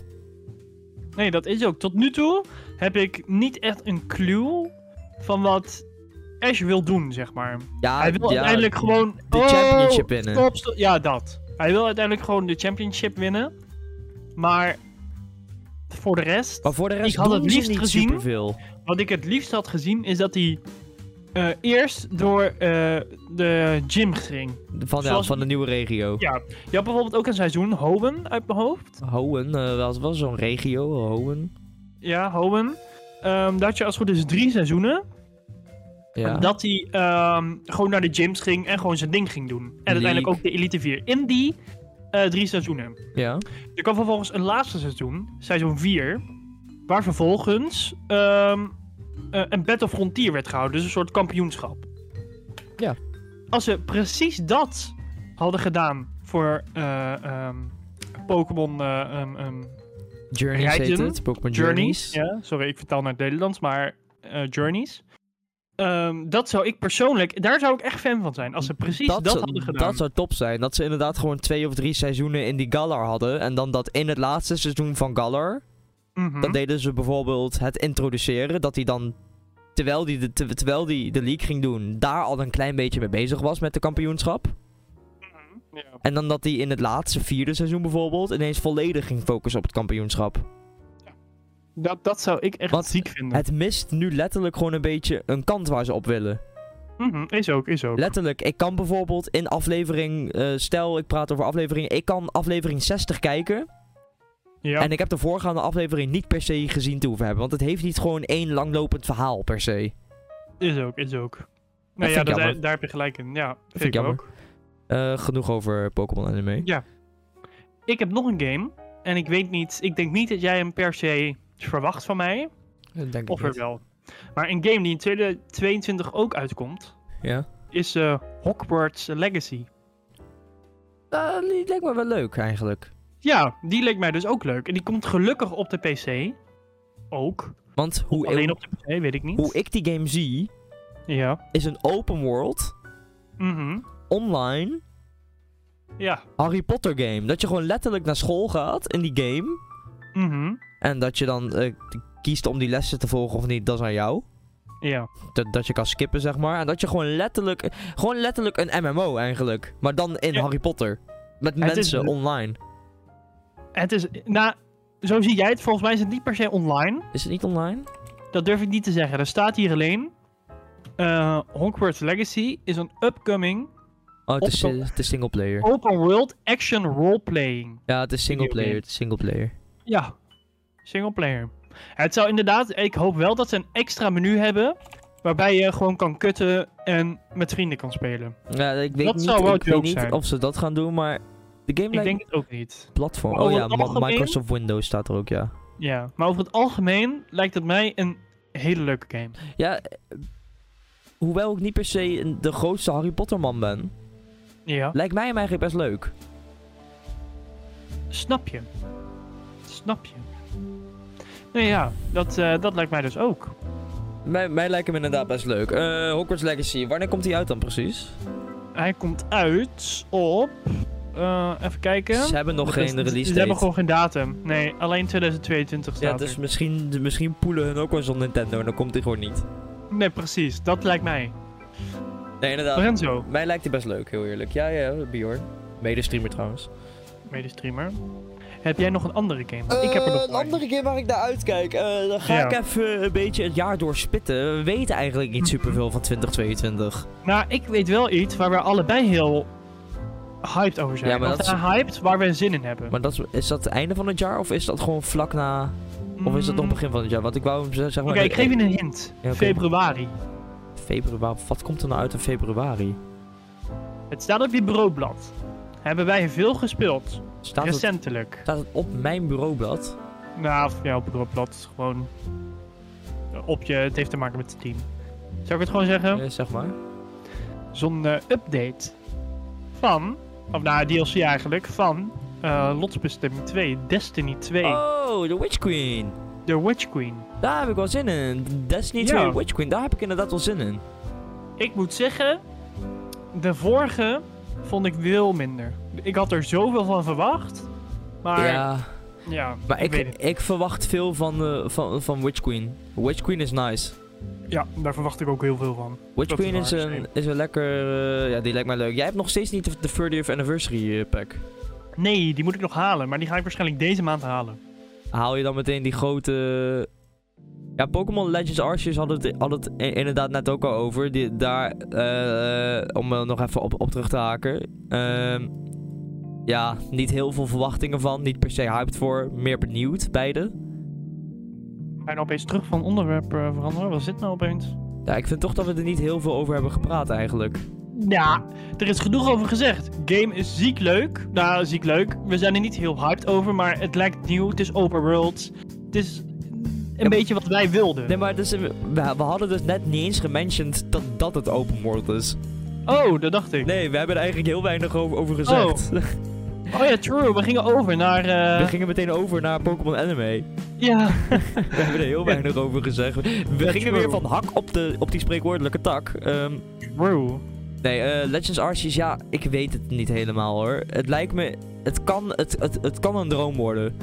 S2: Nee, dat is ook. Tot nu toe heb ik niet echt een clue van wat Ash wil doen, zeg maar.
S1: Ja,
S2: Hij wil
S1: Ah, ja,
S2: uiteindelijk gewoon...
S1: de
S2: Oh,
S1: championship winnen.
S2: stop, stop. Ja, dat. Hij wil uiteindelijk gewoon de championship winnen. Maar voor de rest...
S1: Maar voor de rest
S2: had
S1: doen
S2: het
S1: ze
S2: liefst
S1: niet
S2: gezien-
S1: superveel.
S2: Wat ik het liefst had gezien is dat hij eh, eerst door eh, de gym ging.
S1: Van, ja,
S2: Zoals-
S1: van de nieuwe regio.
S2: Ja. Je had bijvoorbeeld ook een seizoen, Howen uit mijn hoofd.
S1: Hoenn, eh, was wel zo'n regio, Hoenn.
S2: Ja, Howen. Ehm daar had je als het goed is drie seizoenen.
S1: Ja.
S2: Dat hij ehm, gewoon naar de gyms ging en gewoon zijn ding ging doen. En uiteindelijk ook de Elite 4 in die eh, drie seizoenen.
S1: ja.
S2: Er kwam vervolgens een laatste seizoen, seizoen 4. Waar vervolgens ehm, eh, een Battle Frontier werd gehouden. Dus een soort kampioenschap.
S1: Ja.
S2: Als ze precies dat hadden gedaan voor eh, ehm, Pokémon eh, ehm, ehm,
S1: Journeys heet
S2: Rijden.
S1: het. Pokémon Journeys.
S2: Journeys. Ja, sorry, ik vertaal naar het Nederlands, maar eh, Journeys. Ehm, dat zou ik persoonlijk, daar zou ik echt fan van zijn. Als ze precies dat,
S1: zou-
S2: hadden gedaan.
S1: dat zou top zijn. Dat ze inderdaad gewoon twee of drie seizoenen in die Galar hadden. En dan dat in het laatste seizoen van Galar.
S2: Mhm.
S1: Dan deden ze bijvoorbeeld het introduceren. Dat hij dan, terwijl hij de, te- terwijl die de league ging doen, daar al een klein beetje mee bezig was met de kampioenschap.
S2: Mhm, ja.
S1: En dan dat hij in het laatste vierde seizoen bijvoorbeeld ineens volledig ging focussen op het kampioenschap.
S2: dat, dat zou ik echt
S1: Want
S2: ziek vinden.
S1: Het mist nu letterlijk gewoon een beetje een kant waar ze op willen.
S2: Mhm, is ook, is ook.
S1: Letterlijk, ik kan bijvoorbeeld in aflevering, eh, stel ik praat over aflevering, ik kan aflevering 60 kijken.
S2: ja.
S1: En ik heb de voorgaande aflevering niet per se gezien te hoeven hebben. Want het heeft niet gewoon één langlopend verhaal per se.
S2: Is ook, is ook. Nee,
S1: vind
S2: ja,
S1: ik
S2: dat-
S1: jammer.
S2: daar heb je gelijk in. Ja, vind,
S1: ik
S2: ik
S1: jammer.
S2: ook.
S1: Eh, genoeg over Pokémon anime.
S2: Ja. Ik heb nog een game. En ik weet niet, ik denk niet dat jij hem per se verwacht van mij.
S1: Denk
S2: Of er wel. Maar een game die in 2022 ook uitkomt,
S1: Ja.
S2: is eh, Hogwarts Legacy.
S1: Eh, die lijkt me wel leuk eigenlijk.
S2: Ja, die leek mij dus ook leuk. En die komt gelukkig op de PC. Ook.
S1: Want hoe,
S2: Alleen op de PC, weet ik niet.
S1: hoe ik die game zie,
S2: Ja.
S1: is een open world,
S2: Mhm.
S1: online,
S2: Ja.
S1: Harry Potter game. Dat je gewoon letterlijk naar school gaat in die game.
S2: Mhm.
S1: En dat je dan eh, kiest om die lessen te volgen of niet, dat is aan jou.
S2: Ja.
S1: Dat, dat je kan skippen, zeg maar. En dat je gewoon letterlijk, gewoon letterlijk een MMO eigenlijk. Maar dan in
S2: Ja.
S1: Harry Potter. Met
S2: Het is-
S1: mensen online.
S2: Het is, nou, zo zie jij het. Volgens mij is het niet per se online.
S1: Is het niet online?
S2: Dat durf ik niet te zeggen. Er staat hier alleen... eh Hogwarts Legacy is een upcoming
S1: Oh, het is,
S2: Op-
S1: eh, het is singleplayer.
S2: open world action roleplaying.
S1: Ja, het is singleplayer.
S2: Videogame.
S1: Het is singleplayer.
S2: Ja, singleplayer. Het zou inderdaad, ik hoop wel dat ze een extra menu hebben. Waarbij je gewoon kan kutten en met vrienden kan spelen.
S1: Ja, ik weet
S2: Dat
S1: niet,
S2: zou wel
S1: ik weet
S2: joke
S1: niet
S2: zijn.
S1: of ze dat gaan doen, maar... De game
S2: Ik
S1: lijkt
S2: denk het ook niet.
S1: platform.
S2: Oh,
S1: Oh ja,
S2: het
S1: Ma-
S2: algemeen?
S1: Microsoft Windows staat er ook, ja.
S2: Ja, maar over het algemeen lijkt het mij een hele leuke game.
S1: Ja, eh, hoewel ik niet per se een- de grootste Harry Potter man ben,
S2: Ja,
S1: lijkt mij hem eigenlijk best leuk.
S2: snap je. Snap je. Nee ja, dat, eh, dat lijkt mij dus ook.
S1: Mij, mij lijkt hem inderdaad best leuk. Eh Hogwarts Legacy, wanneer komt die uit dan precies?
S2: Hij komt uit op... eh, even kijken.
S1: Ze hebben nog
S2: Dat is-
S1: geen release date.
S2: Ze hebben gewoon geen datum. Nee, alleen 2022 staat
S1: ja,
S2: er.
S1: dus misschien, misschien poelen hun ook wel zo'n Nintendo en dan komt die gewoon niet.
S2: Nee, precies. Dat lijkt mij.
S1: Nee, inderdaad.
S2: Lorenzo,
S1: Mij lijkt hij best leuk, heel eerlijk. Ja, ja, Bjorn. Medestreamer trouwens.
S2: medestreamer. Heb jij nog een andere game? Want ik heb er nog
S1: Eh, een andere keer waar ik naar uitkijk. Eh, dan ga
S2: Ja.
S1: ik even een beetje het jaar doorspitten. We weten eigenlijk niet superveel van 2022.
S2: Nou, ik weet wel iets waar we allebei heel hyped over zijn.
S1: Ja, maar
S2: Of
S1: dat is-
S2: nou, hyped waar we zin in hebben.
S1: Maar dat is, is dat het einde van het jaar of is dat gewoon vlak na... Of is dat nog
S2: Mm,
S1: begin van het jaar? Want ik wou hem ze- zeg
S2: Oké,
S1: maar...
S2: ik geef je een hint.
S1: Ja, oké.
S2: Februari.
S1: Februari. Wat komt er nou uit in februari?
S2: Het staat op je bureaublad. Hebben wij veel gespeeld.
S1: Staat het,
S2: recentelijk.
S1: staat het op mijn bureaublad?
S2: Nou, of ja, op bureaublad. Gewoon eh, op je... Het heeft te maken met het team. Zou ik het gewoon zeggen?
S1: Eh, zeg maar.
S2: Zo'n eh, update van... Of nou, DLC eigenlijk. Van eh Lotsbestemming 2. Destiny 2.
S1: Oh, de Witch Queen.
S2: The Witch Queen.
S1: Daar heb ik wel zin in. Destiny
S2: Ja.
S1: 2 Witch Queen, daar heb ik inderdaad wel zin in.
S2: Ik moet zeggen, de vorige vond ik veel minder. Ik had er zoveel van verwacht, maar ja,
S1: ja, maar
S2: ik
S1: ik,
S2: weet het.
S1: ik verwacht veel van, eh, van, van Witch Queen. Witch Queen is nice.
S2: Ja, daar verwacht ik ook heel veel van.
S1: Witch
S2: Dat is
S1: Queen is
S2: waar,
S1: een,
S2: zeker.
S1: is een lekker... eh, ja, die lijkt mij leuk. Jij hebt nog steeds niet de- de 30th Anniversary eh, pack.
S2: Nee, die moet ik nog halen, maar die ga ik waarschijnlijk deze maand halen.
S1: haal je dan meteen die grote... Ja, Pokémon Legends Arceus had het, had het i- inderdaad net ook al over. Die, daar, eh, om er nog even op, op terug te haken. Ehm, ja, niet heel veel verwachtingen van. Niet per se hyped voor. Meer benieuwd, beide.
S2: Ga je nou opeens terug van onderwerp eh, veranderen? Wat is dit nou opeens?
S1: Ja, ik vind toch dat we er niet heel veel over hebben gepraat eigenlijk.
S2: Ja, er is genoeg over gezegd. Game is ziek leuk. Nou, ziek leuk. We zijn er niet heel hyped over, maar het lijkt nieuw. Het is open world. Het is een
S1: maar-
S2: beetje wat wij wilden.
S1: Nee, maar dus, eh, we, we hadden dus net niet eens gementiond dat dat het open world is.
S2: Oh, dat dacht ik.
S1: Nee, we hebben er eigenlijk heel weinig over, over gezegd.
S2: Oh ja, true. We gingen over naar... eh,
S1: We gingen meteen over naar Pokémon Anime.
S2: Ja.
S1: We hebben er heel weinig over gezegd. We
S2: Ja,
S1: gingen
S2: true.
S1: weer van hak op, de, op die spreekwoordelijke tak. Ehm,
S2: True.
S1: nee, eh, Legends Arceus, ja, ik weet het niet helemaal hoor. Het lijkt me, het kan, het, het, het kan een droom worden.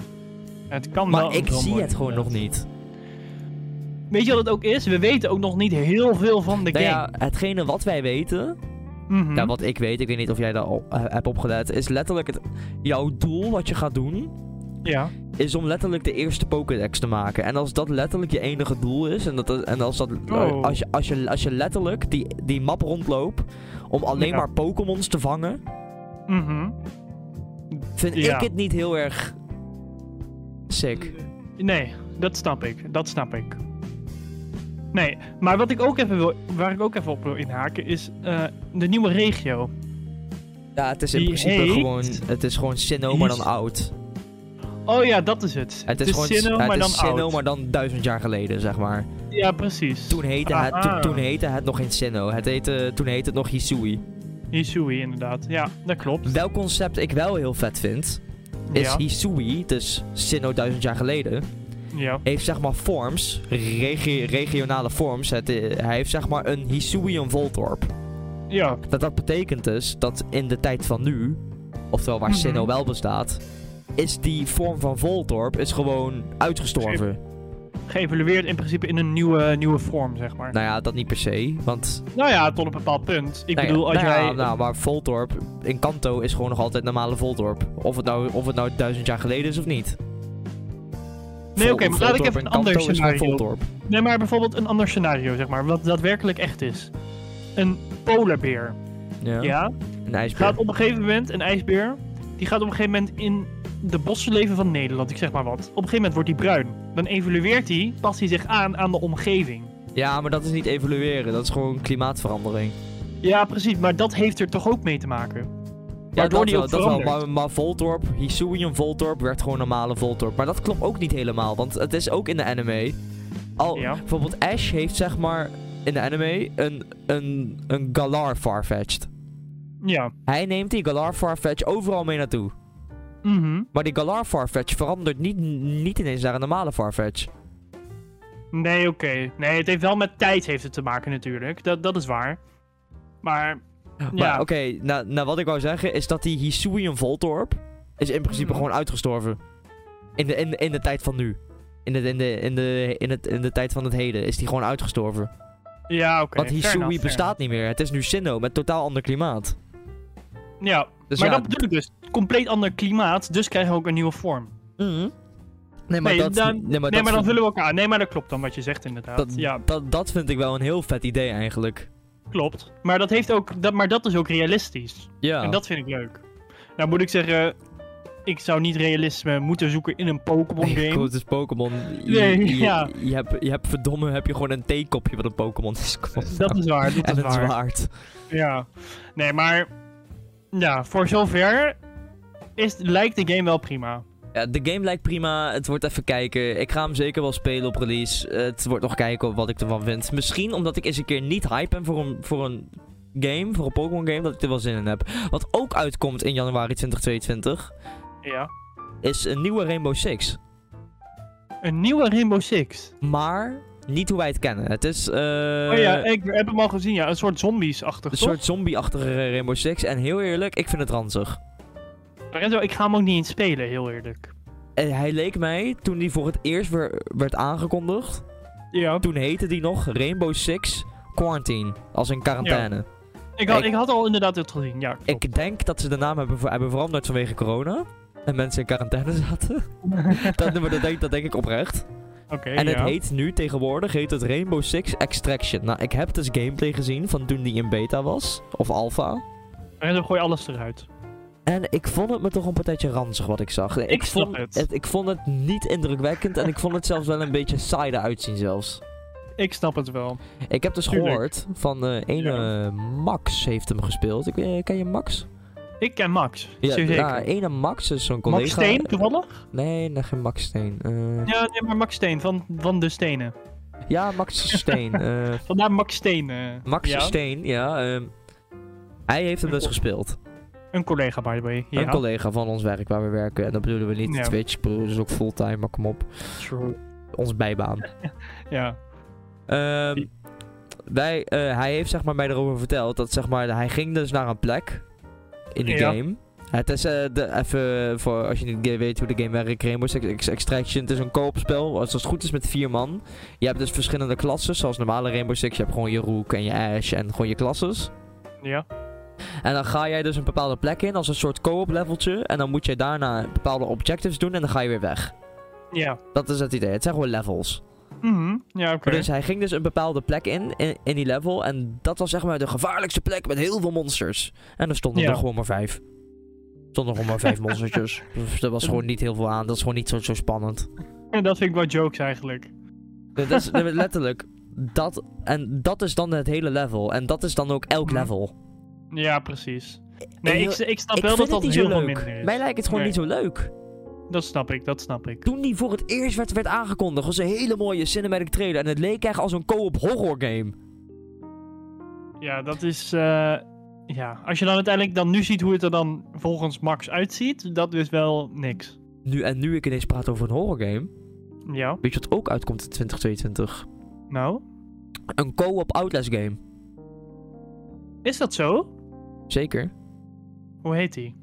S2: Het kan wel
S1: Maar
S2: een
S1: ik
S2: droom
S1: zie
S2: worden,
S1: het gewoon nog
S2: inderdaad.
S1: niet.
S2: Weet je wat het ook is? We weten ook nog niet heel veel van de
S1: Nou
S2: game.
S1: ja, hetgene wat wij weten,
S2: Mhm.
S1: ja, wat ik weet, ik weet niet of jij daar al eh, hebt opgelet, is letterlijk het, jouw doel wat je gaat doen,
S2: Ja.
S1: is om letterlijk de eerste Pokédex te maken. En als dat letterlijk je enige doel is, en, dat, en als, dat,
S2: Oh.
S1: als, je, als, je, als je letterlijk die, die map rondloopt om alleen
S2: Ja.
S1: maar Pokémons te vangen,
S2: Mhm.
S1: vind
S2: Ja.
S1: ik het niet heel erg sick.
S2: Nee, dat snap ik. Dat snap ik. Nee, maar wat ik ook even wil, waar ik ook even op wil inhaken is eh, de nieuwe regio.
S1: Ja, het is in
S2: Die
S1: principe
S2: heet-
S1: gewoon, het is gewoon Sinnoh, maar dan oud.
S2: Oh ja, dat is het.
S1: Het is, gewoon
S2: Sinnoh,
S1: het
S2: maar
S1: is
S2: dan
S1: Sinnoh,
S2: oud.
S1: maar dan duizend jaar geleden, zeg maar.
S2: Ja, precies.
S1: Toen heette, het,
S2: Aha.
S1: toen, toen heette het nog geen Sinnoh, het heette, toen heette het nog Hisui.
S2: Hisui, inderdaad. Ja, dat klopt.
S1: Welk concept ik wel heel vet vind, is
S2: ja.
S1: Hisui, dus Sinnoh duizend jaar geleden,
S2: ja.
S1: heeft zeg maar forms, regi- regionale forms. Het, eh, hij heeft zeg maar een Hisuian Voltorb.
S2: Ja.
S1: Dat, dat betekent dus dat in de tijd van nu, oftewel waar
S2: Mhm.
S1: Sinnoh wel bestaat, is die vorm van Voltorb is gewoon uitgestorven.
S2: geëvalueerd in principe in een nieuwe, nieuwe vorm, zeg maar.
S1: Nou ja, dat niet per se. Want.
S2: Nou ja, tot een bepaald punt. Ik
S1: nou ja,
S2: bedoel, als
S1: nou ja,
S2: jij...
S1: nou, maar Voltorp in Kanto is gewoon nog altijd normale Voltorp. Of het nou, of het nou duizend jaar geleden is of niet.
S2: nee,
S1: Vol-
S2: oké, maar laat ik
S1: Voltorp
S2: even
S1: in
S2: een ander
S1: Kanto is gewoon
S2: scenario
S1: Voltorp.
S2: Nee, maar bijvoorbeeld een ander scenario, zeg maar, wat daadwerkelijk echt is. Een polarbeer,
S1: Ja.
S2: ja.
S1: Een ijsbeer.
S2: Gaat op een gegeven moment, een ijsbeer, die gaat op een gegeven moment in de bossen leven van Nederland, ik zeg maar wat. Op een gegeven moment wordt hij bruin. Dan evolueert hij, past hij zich aan aan de omgeving.
S1: Ja, maar dat is niet evolueren. Dat is gewoon klimaatverandering.
S2: Ja, precies, maar dat heeft er toch ook mee te maken?
S1: Ja,
S2: Waardoor
S1: dat
S2: die
S1: wel,
S2: ook
S1: dat wel.
S2: verandert.
S1: Maar, maar Voltorp, Hisuian Voltorp, werd gewoon normale Voltorp. Maar dat klopt ook niet helemaal, want het is ook in de anime... Al,
S2: Ja.
S1: Bijvoorbeeld Ash heeft zeg maar in de anime een, een, een Galar Farfetch'd.
S2: Ja.
S1: Hij neemt die Galar Farfetch overal mee naartoe.
S2: Mhm.
S1: Maar die Galar Farfetch verandert niet, niet ineens naar een normale Farfetch.
S2: Nee, oké. Nee, het heeft wel met tijd heeft het te maken natuurlijk. Dat, dat is waar. Maar,
S1: Maar
S2: ja.
S1: oké, nou, nou wat ik wou zeggen is dat die Hisuian Voltorp is in principe
S2: Mhm.
S1: gewoon uitgestorven. In de, in, de- in de tijd van nu. In de, in, de, in, de, in, het, in de tijd van het heden is die gewoon uitgestorven.
S2: Ja, oké.
S1: Want
S2: fair
S1: Hisui
S2: enough, fair
S1: bestaat niet meer. Het is nu Sinnoh met totaal ander klimaat.
S2: enough. Ja,
S1: Dus
S2: maar
S1: ja,
S2: dat bedoel ik dus. Compleet ander klimaat, dus krijgen we ook een nieuwe vorm.
S1: Mhm. Nee, maar
S2: Nee,
S1: dat...
S2: dan-
S1: nee, maar
S2: nee,
S1: dat,
S2: maar dan
S1: vind-
S2: vullen we elkaar. ah, Nee, maar dat klopt dan wat je zegt inderdaad.
S1: dat,
S2: Ja,
S1: dat, dat vind ik wel een heel vet idee eigenlijk.
S2: klopt. Maar dat, heeft ook, dat, maar dat is ook realistisch.
S1: Ja.
S2: En dat vind ik leuk. Nou moet ik zeggen, ik zou niet realisme moeten zoeken in een Pokémon
S1: Nee,
S2: game.
S1: goed, het is Pokémon. Je,
S2: Nee,
S1: je,
S2: ja.
S1: je, hebt, je hebt verdomme heb je gewoon een theekopje wat een Pokémon is. Kom op
S2: Dat
S1: nou.
S2: is waar, dat
S1: en
S2: is
S1: een
S2: waar.
S1: zwaard.
S2: Ja. Nee, maar ja, voor zover is, lijkt de game wel prima.
S1: Ja, de game lijkt prima. Het wordt even kijken. Ik ga hem zeker wel spelen op release. Het wordt nog kijken wat ik ervan vind. Misschien omdat ik eens een keer niet hype ben voor een, voor een game, voor een Pokémon game, dat ik er wel zin in heb. Wat ook uitkomt in januari 2022
S2: Ja.
S1: is een nieuwe Rainbow Six.
S2: Een nieuwe Rainbow Six.
S1: Maar niet hoe wij het kennen. Het is eh,
S2: oh ja, ik heb hem al gezien, ja. Een soort zombies-achtig,
S1: een
S2: toch?
S1: soort zombie-achtige Rainbow Six. En heel eerlijk, ik vind het ranzig.
S2: Lorenzo, ik ga hem ook niet eens spelen, heel eerlijk.
S1: Eh, hij leek mij, toen die voor het eerst weer- werd aangekondigd,
S2: Ja.
S1: toen heette die nog Rainbow Six Quarantine. Als in quarantaine.
S2: Ik had,
S1: Ik-
S2: ik had al inderdaad het gezien, ja. klopt.
S1: Ik denk dat ze de naam hebben, ver- hebben veranderd vanwege corona. En mensen in quarantaine zaten. dat, maar dat, denk, dat denk ik oprecht.
S2: Oké,
S1: En het
S2: ja.
S1: heet nu tegenwoordig heet het Rainbow Six Extraction. Nou, ik heb dus gameplay gezien van toen die in beta was. Of alpha.
S2: Lorenzo, gooi alles eruit.
S1: En ik vond het me toch een partijtje ranzig wat ik zag. Ik,
S2: Ik snap
S1: vond
S2: het.
S1: Ik vond het niet indrukwekkend. en ik vond het zelfs wel een beetje saai eruit zien zelfs.
S2: Ik snap het wel.
S1: Ik heb dus
S2: Tuurlijk.
S1: gehoord van eh ene Max heeft hem gespeeld. Ik, weet- ken je Max?
S2: Ik ken Max. zeer zeker.
S1: nou, ene Max is zo'n collega.
S2: Max Steen, toevallig?
S1: Nee, nee, geen Max Steen. Eh,
S2: Ja, nee, maar Max Steen, van, van de stenen.
S1: ja, Max Steen. eh,
S2: Vandaar Max Steen. eh,
S1: Max
S2: ja.
S1: Steen, ja. ehm, hij heeft hem dus gespeeld.
S2: Een collega, by the way. Ja.
S1: Een collega van ons werk waar we werken. En dat bedoelen we niet
S2: Ja.
S1: Twitch, ik bedoel, dat is ook fulltime, maar kom op. Ons bijbaan.
S2: Ja.
S1: Ehm, wij, eh, hij heeft zeg maar, mij erover verteld dat zeg maar, hij ging dus naar een plek in de
S2: Ja.
S1: game. Het is eh, de, even voor als je niet ge- weet hoe de game werkt. Rainbow Six Ex- Extraction. Het is een koopspel. Als het goed is met vier man. Je hebt dus verschillende klassen. Zoals normale Rainbow Six. Je hebt gewoon je Rook en je Ash. En gewoon je klasses.
S2: Ja.
S1: En dan ga jij dus een bepaalde plek in. Als een soort co-op leveltje. En dan moet je daarna bepaalde objectives doen. En dan ga je weer weg.
S2: Ja.
S1: Dat is het idee. Het zijn gewoon levels.
S2: Mhm. Ja, oké.
S1: Maar Dus hij ging dus een bepaalde plek in, in, in die level. En dat was zeg maar de gevaarlijkste plek met heel veel monsters. En er stonden
S2: Ja.
S1: er gewoon maar vijf. Er stonden gewoon maar vijf monstertjes. Dus er was gewoon niet heel veel aan. Dat is gewoon niet zo, zo spannend.
S2: En dat vind ik wel jokes eigenlijk.
S1: Dat is dat is letterlijk. Dat, en dat is dan het hele level. En dat is dan ook elk
S2: Mhm.
S1: level.
S2: Ja, precies. Nee,
S1: heel-
S2: ik, ik snap
S1: Ik
S2: wel
S1: vind
S2: dat
S1: het
S2: dat
S1: niet zo
S2: heel veel
S1: leuk.
S2: minder is.
S1: Mij lijkt het gewoon
S2: Nee.
S1: niet zo leuk.
S2: Dat snap ik, dat snap ik.
S1: Toen die voor het eerst werd, werd aangekondigd, was een hele mooie cinematic trailer. En het leek echt als een co-op horror game.
S2: Ja, dat is... eh, ja, als je dan uiteindelijk dan nu ziet hoe het er dan volgens Max uitziet, dat is wel niks.
S1: Nu, en nu ik ineens praat over een horror game.
S2: Ja,
S1: Weet je wat ook uitkomt in 2022?
S2: nou?
S1: Een co-op Outlast game.
S2: Is dat zo?
S1: Zeker.
S2: Hoe heet die?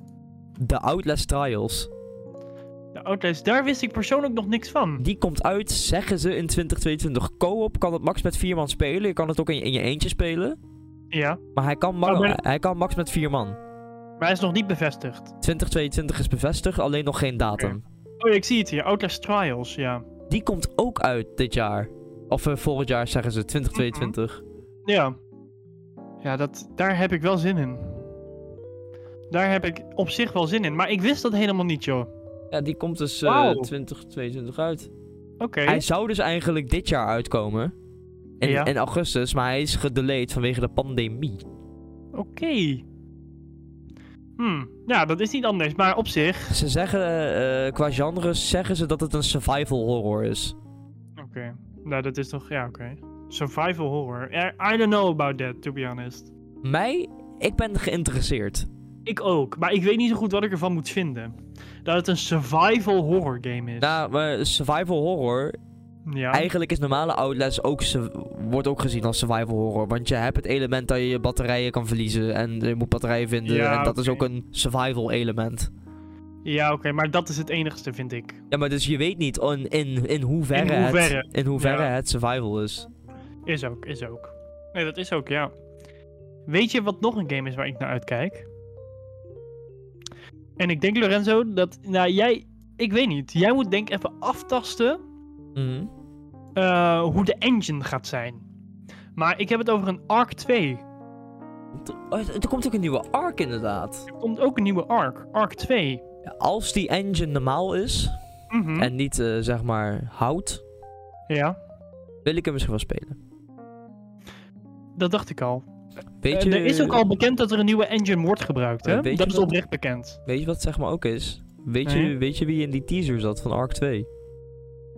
S1: De Outlast Trials.
S2: De Outliers, daar wist ik persoonlijk nog niks van.
S1: Die komt uit, zeggen ze, in 2022. Co-op kan het max met vier man spelen. Je kan het ook in je, in je eentje spelen.
S2: Ja,
S1: Maar hij kan, ma-
S2: Oh, maar-
S1: hij kan max met vier man.
S2: maar hij is nog niet bevestigd.
S1: 2022 is bevestigd, alleen nog geen datum.
S2: Oh, ik zie het hier. Outlast Trials, ja.
S1: Die komt ook uit dit jaar. Of eh, volgend jaar zeggen ze, 2022.
S2: Ja. Ja, dat, daar heb ik wel zin in. Daar heb ik op zich wel zin in. Maar ik wist dat helemaal niet, joh.
S1: Ja, die komt dus eh,
S2: Wauw.
S1: 2022 uit.
S2: Oké.
S1: Hij zou dus eigenlijk dit jaar uitkomen. In,
S2: Ja.
S1: in augustus, maar hij is gedelayed vanwege de pandemie.
S2: Oké. Hm. Ja, dat is niet anders. Maar op zich.
S1: Ze zeggen, eh, eh, qua genre zeggen ze dat het een survival horror is.
S2: Oké. Nou, dat is toch. Ja, oké. Survival horror. I, I don't know about that, to be honest.
S1: Mij, ik ben geïnteresseerd.
S2: Ik ook. Maar ik weet niet zo goed wat ik ervan moet vinden. Dat het een survival horror game is.
S1: Nou, maar survival horror,
S2: ja.
S1: eigenlijk is normale Outlast ook, su- wordt ook gezien als survival horror. Want je hebt het element dat je je batterijen kan verliezen en je moet batterijen vinden.
S2: Ja,
S1: en dat is ook
S2: oké.
S1: een survival element.
S2: Ja, oké. maar dat is het enigste, vind ik.
S1: Ja, maar dus je weet niet on- in, in hoeverre,
S2: In hoeverre,
S1: Het, in hoeverre
S2: ja.
S1: het survival is.
S2: Is ook, is ook. Nee, dat is ook, ja. Weet je wat nog een game is waar ik naar uitkijk? En ik denk, Lorenzo, dat. Nou, jij. Ik weet niet. Jij moet denk ik even aftasten.
S1: Mhm.
S2: eh, hoe de engine gaat zijn. Maar ik heb het over een Arc 2.
S1: Oh, er er komt ook een nieuwe arc inderdaad.
S2: Er komt ook een nieuwe Arc. Arc 2.
S1: Ja, Als die engine normaal is
S2: Mhm.
S1: en niet eh, zeg maar hout,
S2: Ja,
S1: wil ik hem misschien wel spelen.
S2: dat dacht ik al.
S1: Weet
S2: Eh,
S1: je,
S2: er is ook al bekend dat er een nieuwe engine wordt gebruikt,
S1: Eh,
S2: hè?
S1: weet je
S2: Dat is
S1: wat-
S2: oprecht bekend.
S1: weet je wat zeg maar ook is? Weet, je,
S2: Nee.
S1: weet je wie in die teaser zat van Arc 2?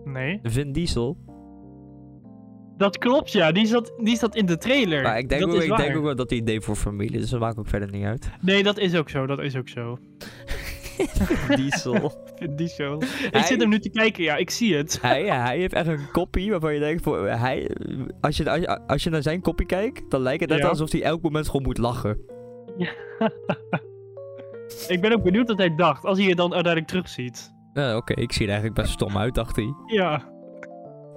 S2: Nee.
S1: Vin Diesel.
S2: Dat klopt, ja. Die zat, die zat in de trailer.
S1: Maar ik denk,
S2: dat
S1: ook,
S2: is
S1: ik
S2: waar.
S1: denk ook wel dat hij idee voor familie, dus dat maakt ook verder niet uit.
S2: Nee, dat is ook zo. Dat is ook zo.
S1: Diesel.
S2: Die show.
S1: Hij-
S2: Ik zit hem nu te kijken, ja, ik zie het.
S1: hij, hij heeft echt een kopie waarvan je denkt, voor, hij, als, je, als, je, als je naar zijn kopie kijkt, dan lijkt het net
S2: Ja.
S1: alsof hij elk moment gewoon moet lachen.
S2: Ik ben ook benieuwd wat hij dacht, als hij het dan uiteindelijk terugziet.
S1: Nou, Oké, ik zie er eigenlijk best stom uit, dacht hij.
S2: Ja.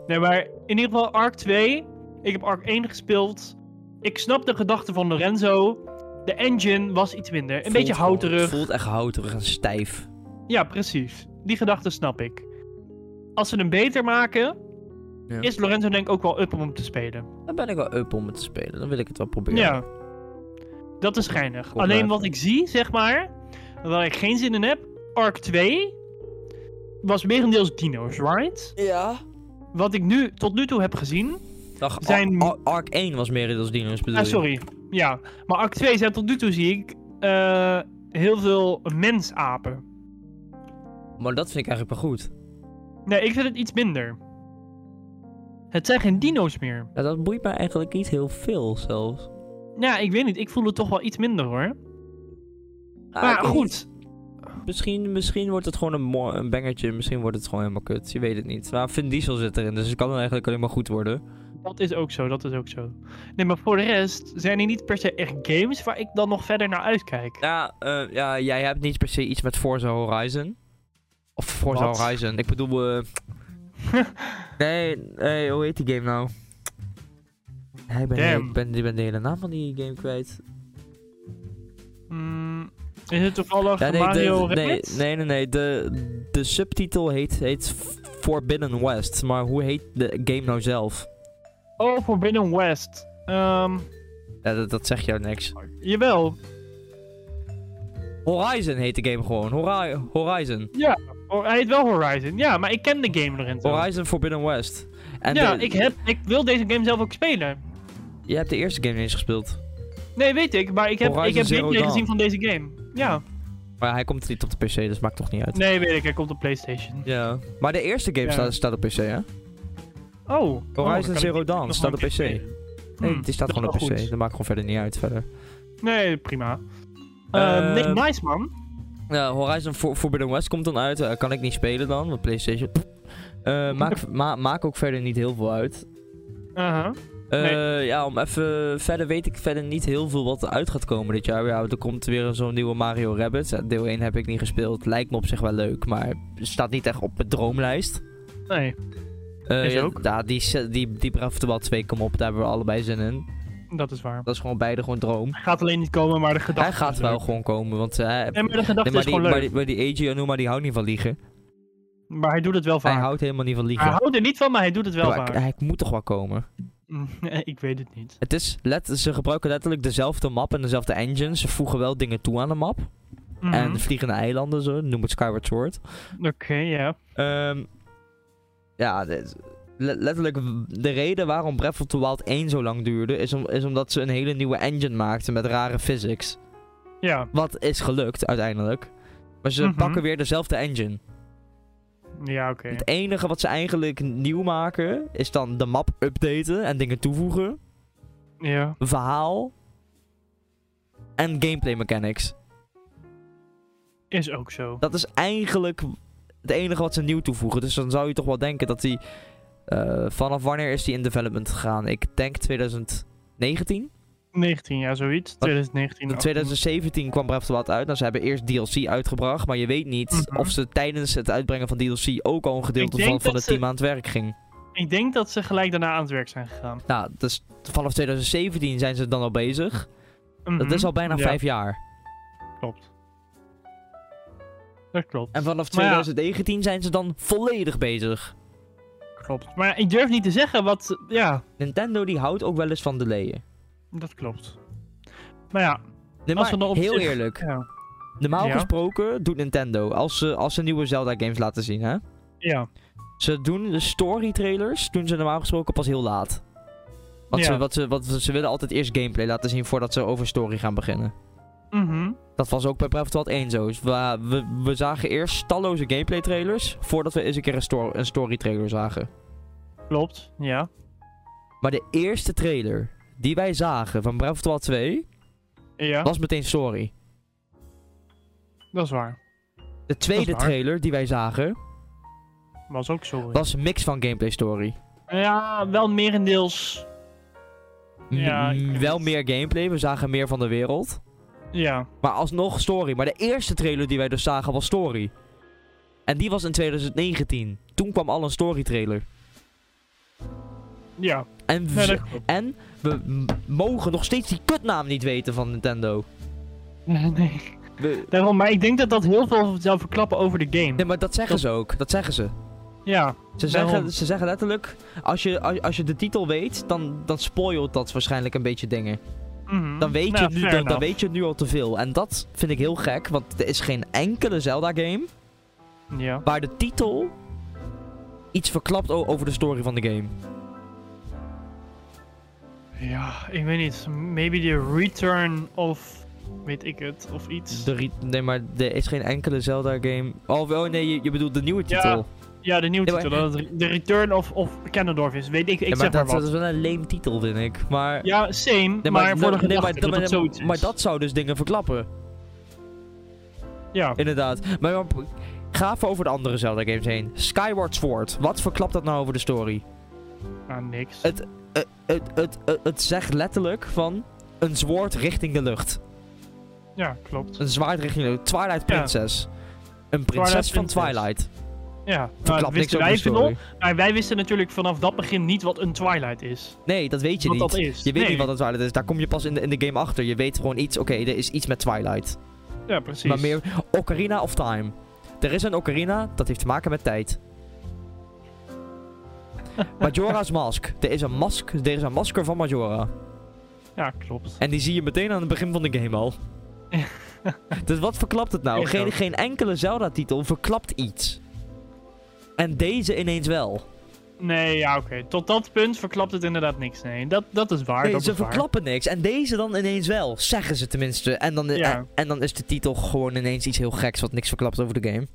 S2: Nee, maar in ieder geval Arc 2. Ik heb Arc 1 gespeeld. Ik snap de gedachte van Lorenzo. De engine was iets minder. Een beetje
S1: Voelt-
S2: houterig.
S1: Voelt echt houterig en stijf.
S2: Ja, precies. Die gedachte snap ik. Als ze hem beter maken,
S1: Ja.
S2: is Lorenzo denk ik ook wel up om hem te spelen.
S1: Dan ben ik wel up om het te spelen. Dan wil ik het wel proberen.
S2: Ja. Dat is geinig.
S1: Kom
S2: Alleen
S1: maar.
S2: wat ik zie, zeg maar, waar ik geen zin in heb, Arc 2 was merendeels dino's, right?
S1: Ja.
S2: Wat ik nu tot nu toe heb gezien. Ah,
S1: Dag,
S2: Zijn-
S1: Ar- Ar- Arc 1 was meer als dino's bedoel
S2: Ah,
S1: je?
S2: sorry. Ja. Maar Arc 2 zijn tot nu toe, zie ik, eh, heel veel mensapen.
S1: Maar dat vind ik eigenlijk wel goed.
S2: Nee, ik vind het iets minder. Het zijn geen dino's meer.
S1: Ja, dat boeit mij eigenlijk niet heel veel zelfs.
S2: Ja, Nou, ik weet niet. Ik voel het toch wel iets minder hoor.
S1: Ah, ik
S2: maar
S1: weet
S2: goed.
S1: niet. Misschien, misschien wordt het gewoon een, mo- een bangertje. Misschien wordt het gewoon helemaal kut. Je weet het niet. Maar Vin Diesel zit erin, dus het kan eigenlijk alleen maar goed worden.
S2: Dat is ook zo, dat is ook zo. Nee, maar voor de rest zijn er niet per se echt games waar ik dan nog verder naar uitkijk.
S1: Ja, eh, ja jij hebt niet per se iets met Forza Horizon. Of Forza
S2: Wat?
S1: Horizon. Ik bedoel... eh, nee, nee, hoe heet die game nou? Nee, Ik ben,
S2: Damn.
S1: ik, ben, ik ben de hele naam van die game kwijt.
S2: Mm, is het toevallig
S1: Ja, nee,
S2: Mario
S1: de, nee,
S2: Rabbit?
S1: nee, nee, nee. De, de subtitel heet, heet Forbidden West. Maar hoe heet de game nou zelf?
S2: Oh, Forbidden West. Ehm,
S1: Ja, dat, dat zegt jou niks.
S2: jawel.
S1: Horizon heet de game gewoon. Hori- Horizon.
S2: Oh, hij heet wel Horizon. Ja, maar ik ken de game erin. toch.
S1: Horizon Forbidden West. En
S2: ja,
S1: de-
S2: ik, heb, ik wil deze game zelf ook spelen.
S1: Je hebt de eerste game niet eens gespeeld.
S2: Nee, weet ik, maar ik heb, ik
S1: Horizon
S2: heb
S1: Zero
S2: gameplay
S1: Dawn.
S2: gezien van deze game. Ja.
S1: Maar ja, hij komt niet op de PC, dus maakt toch niet uit.
S2: Nee, weet ik, hij komt op PlayStation.
S1: Ja. Maar de eerste game
S2: Ja. Hmm.
S1: staat, staat op PC, hè?
S2: Oh. oh, dan kan
S1: Horizon
S2: ik
S1: Zero
S2: die nog
S1: Dawn
S2: wel
S1: staat
S2: een
S1: op
S2: keer
S1: PC. Nee,
S2: spelen. Hmm,
S1: die staat
S2: dat
S1: gewoon op
S2: is wel
S1: PC.
S2: goed.
S1: Dat maakt gewoon verder niet uit verder.
S2: Nee, prima. Ehm, nee,
S1: Ehm,
S2: nice man.
S1: Ja, Horizon For- Forbidden West komt dan uit. Eh, kan ik niet spelen dan, want PlayStation. Eh, maakt- ma- maakt ook verder niet heel veel uit.
S2: Aha.
S1: Eh,
S2: Nee.
S1: Ja, om even... Verder weet ik verder niet heel veel wat eruit gaat komen dit jaar. Ja, er komt weer zo'n nieuwe Mario Rabbit. Ja, Deel 1 heb ik niet gespeeld. Lijkt me op zich wel leuk, maar staat niet echt op mijn droomlijst.
S2: Nee,
S1: Eh,
S2: Is
S1: ja,
S2: ook.
S1: Ja, die, se- die, die Breath of the Wild 2 komt op. Daar hebben we allebei zin in.
S2: dat is waar.
S1: Dat is gewoon beide gewoon droom.
S2: Hij gaat alleen niet komen, maar de gedachte
S1: Hij gaat
S2: is
S1: wel
S2: leuk.
S1: gewoon komen, want... eh, hij-
S2: Nee, maar de gedachte
S1: Nee, maar
S2: is
S1: die,
S2: gewoon
S1: maar
S2: leuk.
S1: die, maar die AJ Onuma, die houdt niet van liegen.
S2: Maar hij doet het wel
S1: Hij
S2: vaak.
S1: houdt helemaal niet van liegen.
S2: Hij houdt er niet van, maar hij doet het wel
S1: Ja, maar
S2: vaak.
S1: hij moet toch wel komen.
S2: Mm, ik weet het niet.
S1: Het is let, ze gebruiken letterlijk dezelfde map en dezelfde engine. Ze voegen wel dingen toe aan de map.
S2: Mhm.
S1: En de vliegende eilanden, zo, noem het Skyward Sword.
S2: Oké, ja.
S1: Ehm, ja, dit- le- letterlijk de reden waarom Breath of the Wild 1 zo lang duurde... Is, om, is omdat ze een hele nieuwe engine maakten met rare physics.
S2: Ja,
S1: Wat is gelukt uiteindelijk. Maar ze
S2: Mhm.
S1: pakken weer dezelfde engine.
S2: ja oké.
S1: Het enige wat ze eigenlijk nieuw maken... is dan de map updaten en dingen toevoegen.
S2: Ja.
S1: verhaal en gameplay mechanics.
S2: Is ook zo.
S1: Dat is eigenlijk het enige wat ze nieuw toevoegen. Dus dan zou je toch wel denken dat die... eh, vanaf wanneer is die in development gegaan? Ik denk 2019.
S2: 19, ja, zoiets. 2019.
S1: In 2017 kwam Breath of the Wild uit. Nou, ze hebben eerst DLC uitgebracht. Maar je weet niet
S2: Mhm.
S1: of ze tijdens het uitbrengen van DLC ook al een
S2: Ik
S1: gedeelte
S2: denk
S1: van, van
S2: dat
S1: het
S2: ze-
S1: team aan het werk ging.
S2: Ik denk dat ze gelijk daarna aan het werk zijn gegaan.
S1: Nou, dus vanaf 2017 zijn ze dan al bezig. Dat
S2: Mhm.
S1: is al bijna
S2: Ja,
S1: vijf jaar.
S2: Klopt. Dat klopt.
S1: En vanaf
S2: Maar ja.
S1: 2019 zijn ze dan volledig bezig.
S2: Klopt. Maar ik durf niet te zeggen wat. Ja,
S1: Nintendo die houdt ook wel eens van delayen.
S2: dat klopt. Maar ja,
S1: Nee,
S2: Als
S1: maar
S2: we dan op
S1: heel
S2: zich-
S1: eerlijk.
S2: ja.
S1: Normaal
S2: Ja.
S1: gesproken doet Nintendo, als ze, als ze nieuwe Zelda games laten zien, hè.
S2: ja.
S1: Ze doen de story trailers, doen ze normaal gesproken pas heel laat. Want,
S2: Ja.
S1: ze, wat ze, wat, ze willen altijd eerst gameplay laten zien voordat ze over story gaan beginnen.
S2: Mhm.
S1: Dat was ook bij Breath of the Wild 1 zo. Dus We, we, we zagen eerst talloze gameplay trailers, voordat we eens een keer een, sto- een story trailer zagen.
S2: Klopt. Ja.
S1: Maar de eerste trailer die wij zagen van Breath of the Wild 2,
S2: Ja,
S1: was meteen story.
S2: dat is waar.
S1: De tweede
S2: Dat is waar.
S1: trailer die wij zagen
S2: Was ook sorry.
S1: was een mix van gameplay story.
S2: Ja, wel merendeels.
S1: M-
S2: Ja, ik
S1: m-
S2: weet
S1: wel
S2: het.
S1: meer gameplay, we zagen meer van de wereld.
S2: Ja.
S1: Maar alsnog story. Maar de eerste trailer die wij dus zagen was story. En die was in 2019. Toen kwam al een story trailer.
S2: Ja.
S1: En we,
S2: Nee, dat klopt.
S1: en we m- mogen nog steeds die kutnaam niet weten van Nintendo.
S2: Nee.
S1: We-
S2: Daarom, maar ik denk dat dat heel veel zou verklappen over de game.
S1: nee, maar dat zeggen ze ook. Dat zeggen ze.
S2: Ja.
S1: Ze
S2: Daarom.
S1: zeggen, ze zeggen letterlijk, als je, als, als je de titel weet, dan, dan spoilt dat waarschijnlijk een beetje dingen.
S2: Mhm.
S1: Dan weet,
S2: Nou,
S1: je, nu,
S2: fair
S1: dan, dan
S2: enough.
S1: weet je het nu al te veel. En dat vind ik heel gek, want er is geen enkele Zelda-game
S2: Ja.
S1: waar de titel iets verklapt o- over de story van de game.
S2: Ja, ik weet niet. Maybe the return of. Weet ik het, of iets.
S1: De re- nee, maar er is geen enkele Zelda-game. Oh, wel, nee, je, je bedoelt de nieuwe
S2: Ja,
S1: titel. Ja,
S2: Ja, de nieuwe
S1: Ja, maar-
S2: titel. dat het de return of, of Kennendorf is. Weet ik, ik
S1: maar
S2: zeg
S1: dat,
S2: maar wat.
S1: dat is wel een lame titel, vind ik. Maar,
S2: Ja, same,
S1: nee,
S2: maar, voor de
S1: nee,
S2: gedachte
S1: maar,
S2: dat
S1: maar-
S2: het zoiets is.
S1: maar dat zou dus dingen verklappen,
S2: Ja,
S1: inderdaad. Maar, maar ga even over de andere Zelda-games heen. Skyward Sword, wat verklapt dat nou over de story?
S2: nou, niks.
S1: Het- Eh, het, het, het, het zegt letterlijk van een zwaard richting de lucht.
S2: Ja, klopt.
S1: Een zwaard richting de lucht. Twilight Princess. Een prinses van
S2: Princess.
S1: Twilight.
S2: Ja, nou, dat
S1: Verklapt niks
S2: wisten
S1: over de
S2: wij
S1: story.
S2: veel. Maar Nou, wij wisten natuurlijk vanaf dat begin niet wat een Twilight is.
S1: Nee, dat weet je
S2: wat dat
S1: niet.
S2: is.
S1: Je weet
S2: Nee.
S1: niet wat een Twilight is. Daar kom je pas in de, in de game achter. Je weet gewoon iets. Oké, er is iets met Twilight.
S2: Ja, precies.
S1: Maar meer Ocarina of Time. Er is een Ocarina, dat heeft te maken met tijd. Majora's Mask. Er is een mask. Er is een masker van Majora.
S2: Ja, klopt.
S1: En die zie je meteen aan het begin van de game al. dus wat verklapt het nou?
S2: Echt
S1: Geen,
S2: wel.
S1: geen enkele Zelda-titel verklapt iets. En deze ineens wel.
S2: Nee, ja, oké. Tot dat punt verklapt het inderdaad niks. Nee, dat, dat is waar.
S1: Nee,
S2: dat
S1: ze
S2: is waar.
S1: verklappen niks. En deze dan ineens wel, zeggen ze tenminste. En dan,
S2: Ja.
S1: en, en dan is de titel gewoon ineens iets heel geks wat niks verklapt over de game.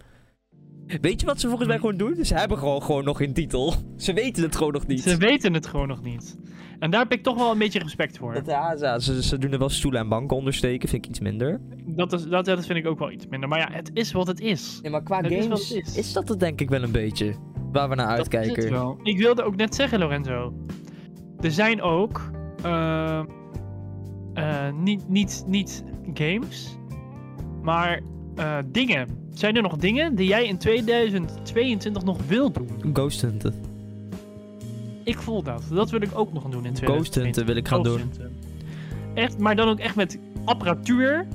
S1: Weet je wat ze volgens mij gewoon doen? Ze hebben gewoon, gewoon nog geen titel. Ze weten het gewoon nog niet.
S2: Ze weten het gewoon nog niet. En daar heb ik toch wel een beetje respect voor.
S1: Dat- ja, ze- ze, ze doen er wel stoelen en banken ondersteken, vind ik iets minder.
S2: Dat, is, dat, dat vind ik ook wel iets minder. Maar ja, het is wat het is.
S1: Nee, maar qua
S2: Dat is wat
S1: games
S2: het is.
S1: is. dat het denk ik wel een beetje. Waar we naar
S2: Dat is het
S1: uitkijken.
S2: wel. Ik wilde ook net zeggen, Lorenzo. Er zijn ook eh, eh, niet, niet, niet games, maar eh, dingen. Zijn er nog dingen die jij in 2022 nog wilt doen?
S1: Ghost hunten.
S2: Ik voel dat. Dat wil ik ook nog gaan doen in 2022.
S1: Ghost hunten wil ik gaan doen.
S2: Ghost hunten. Echt, maar dan ook echt met apparatuur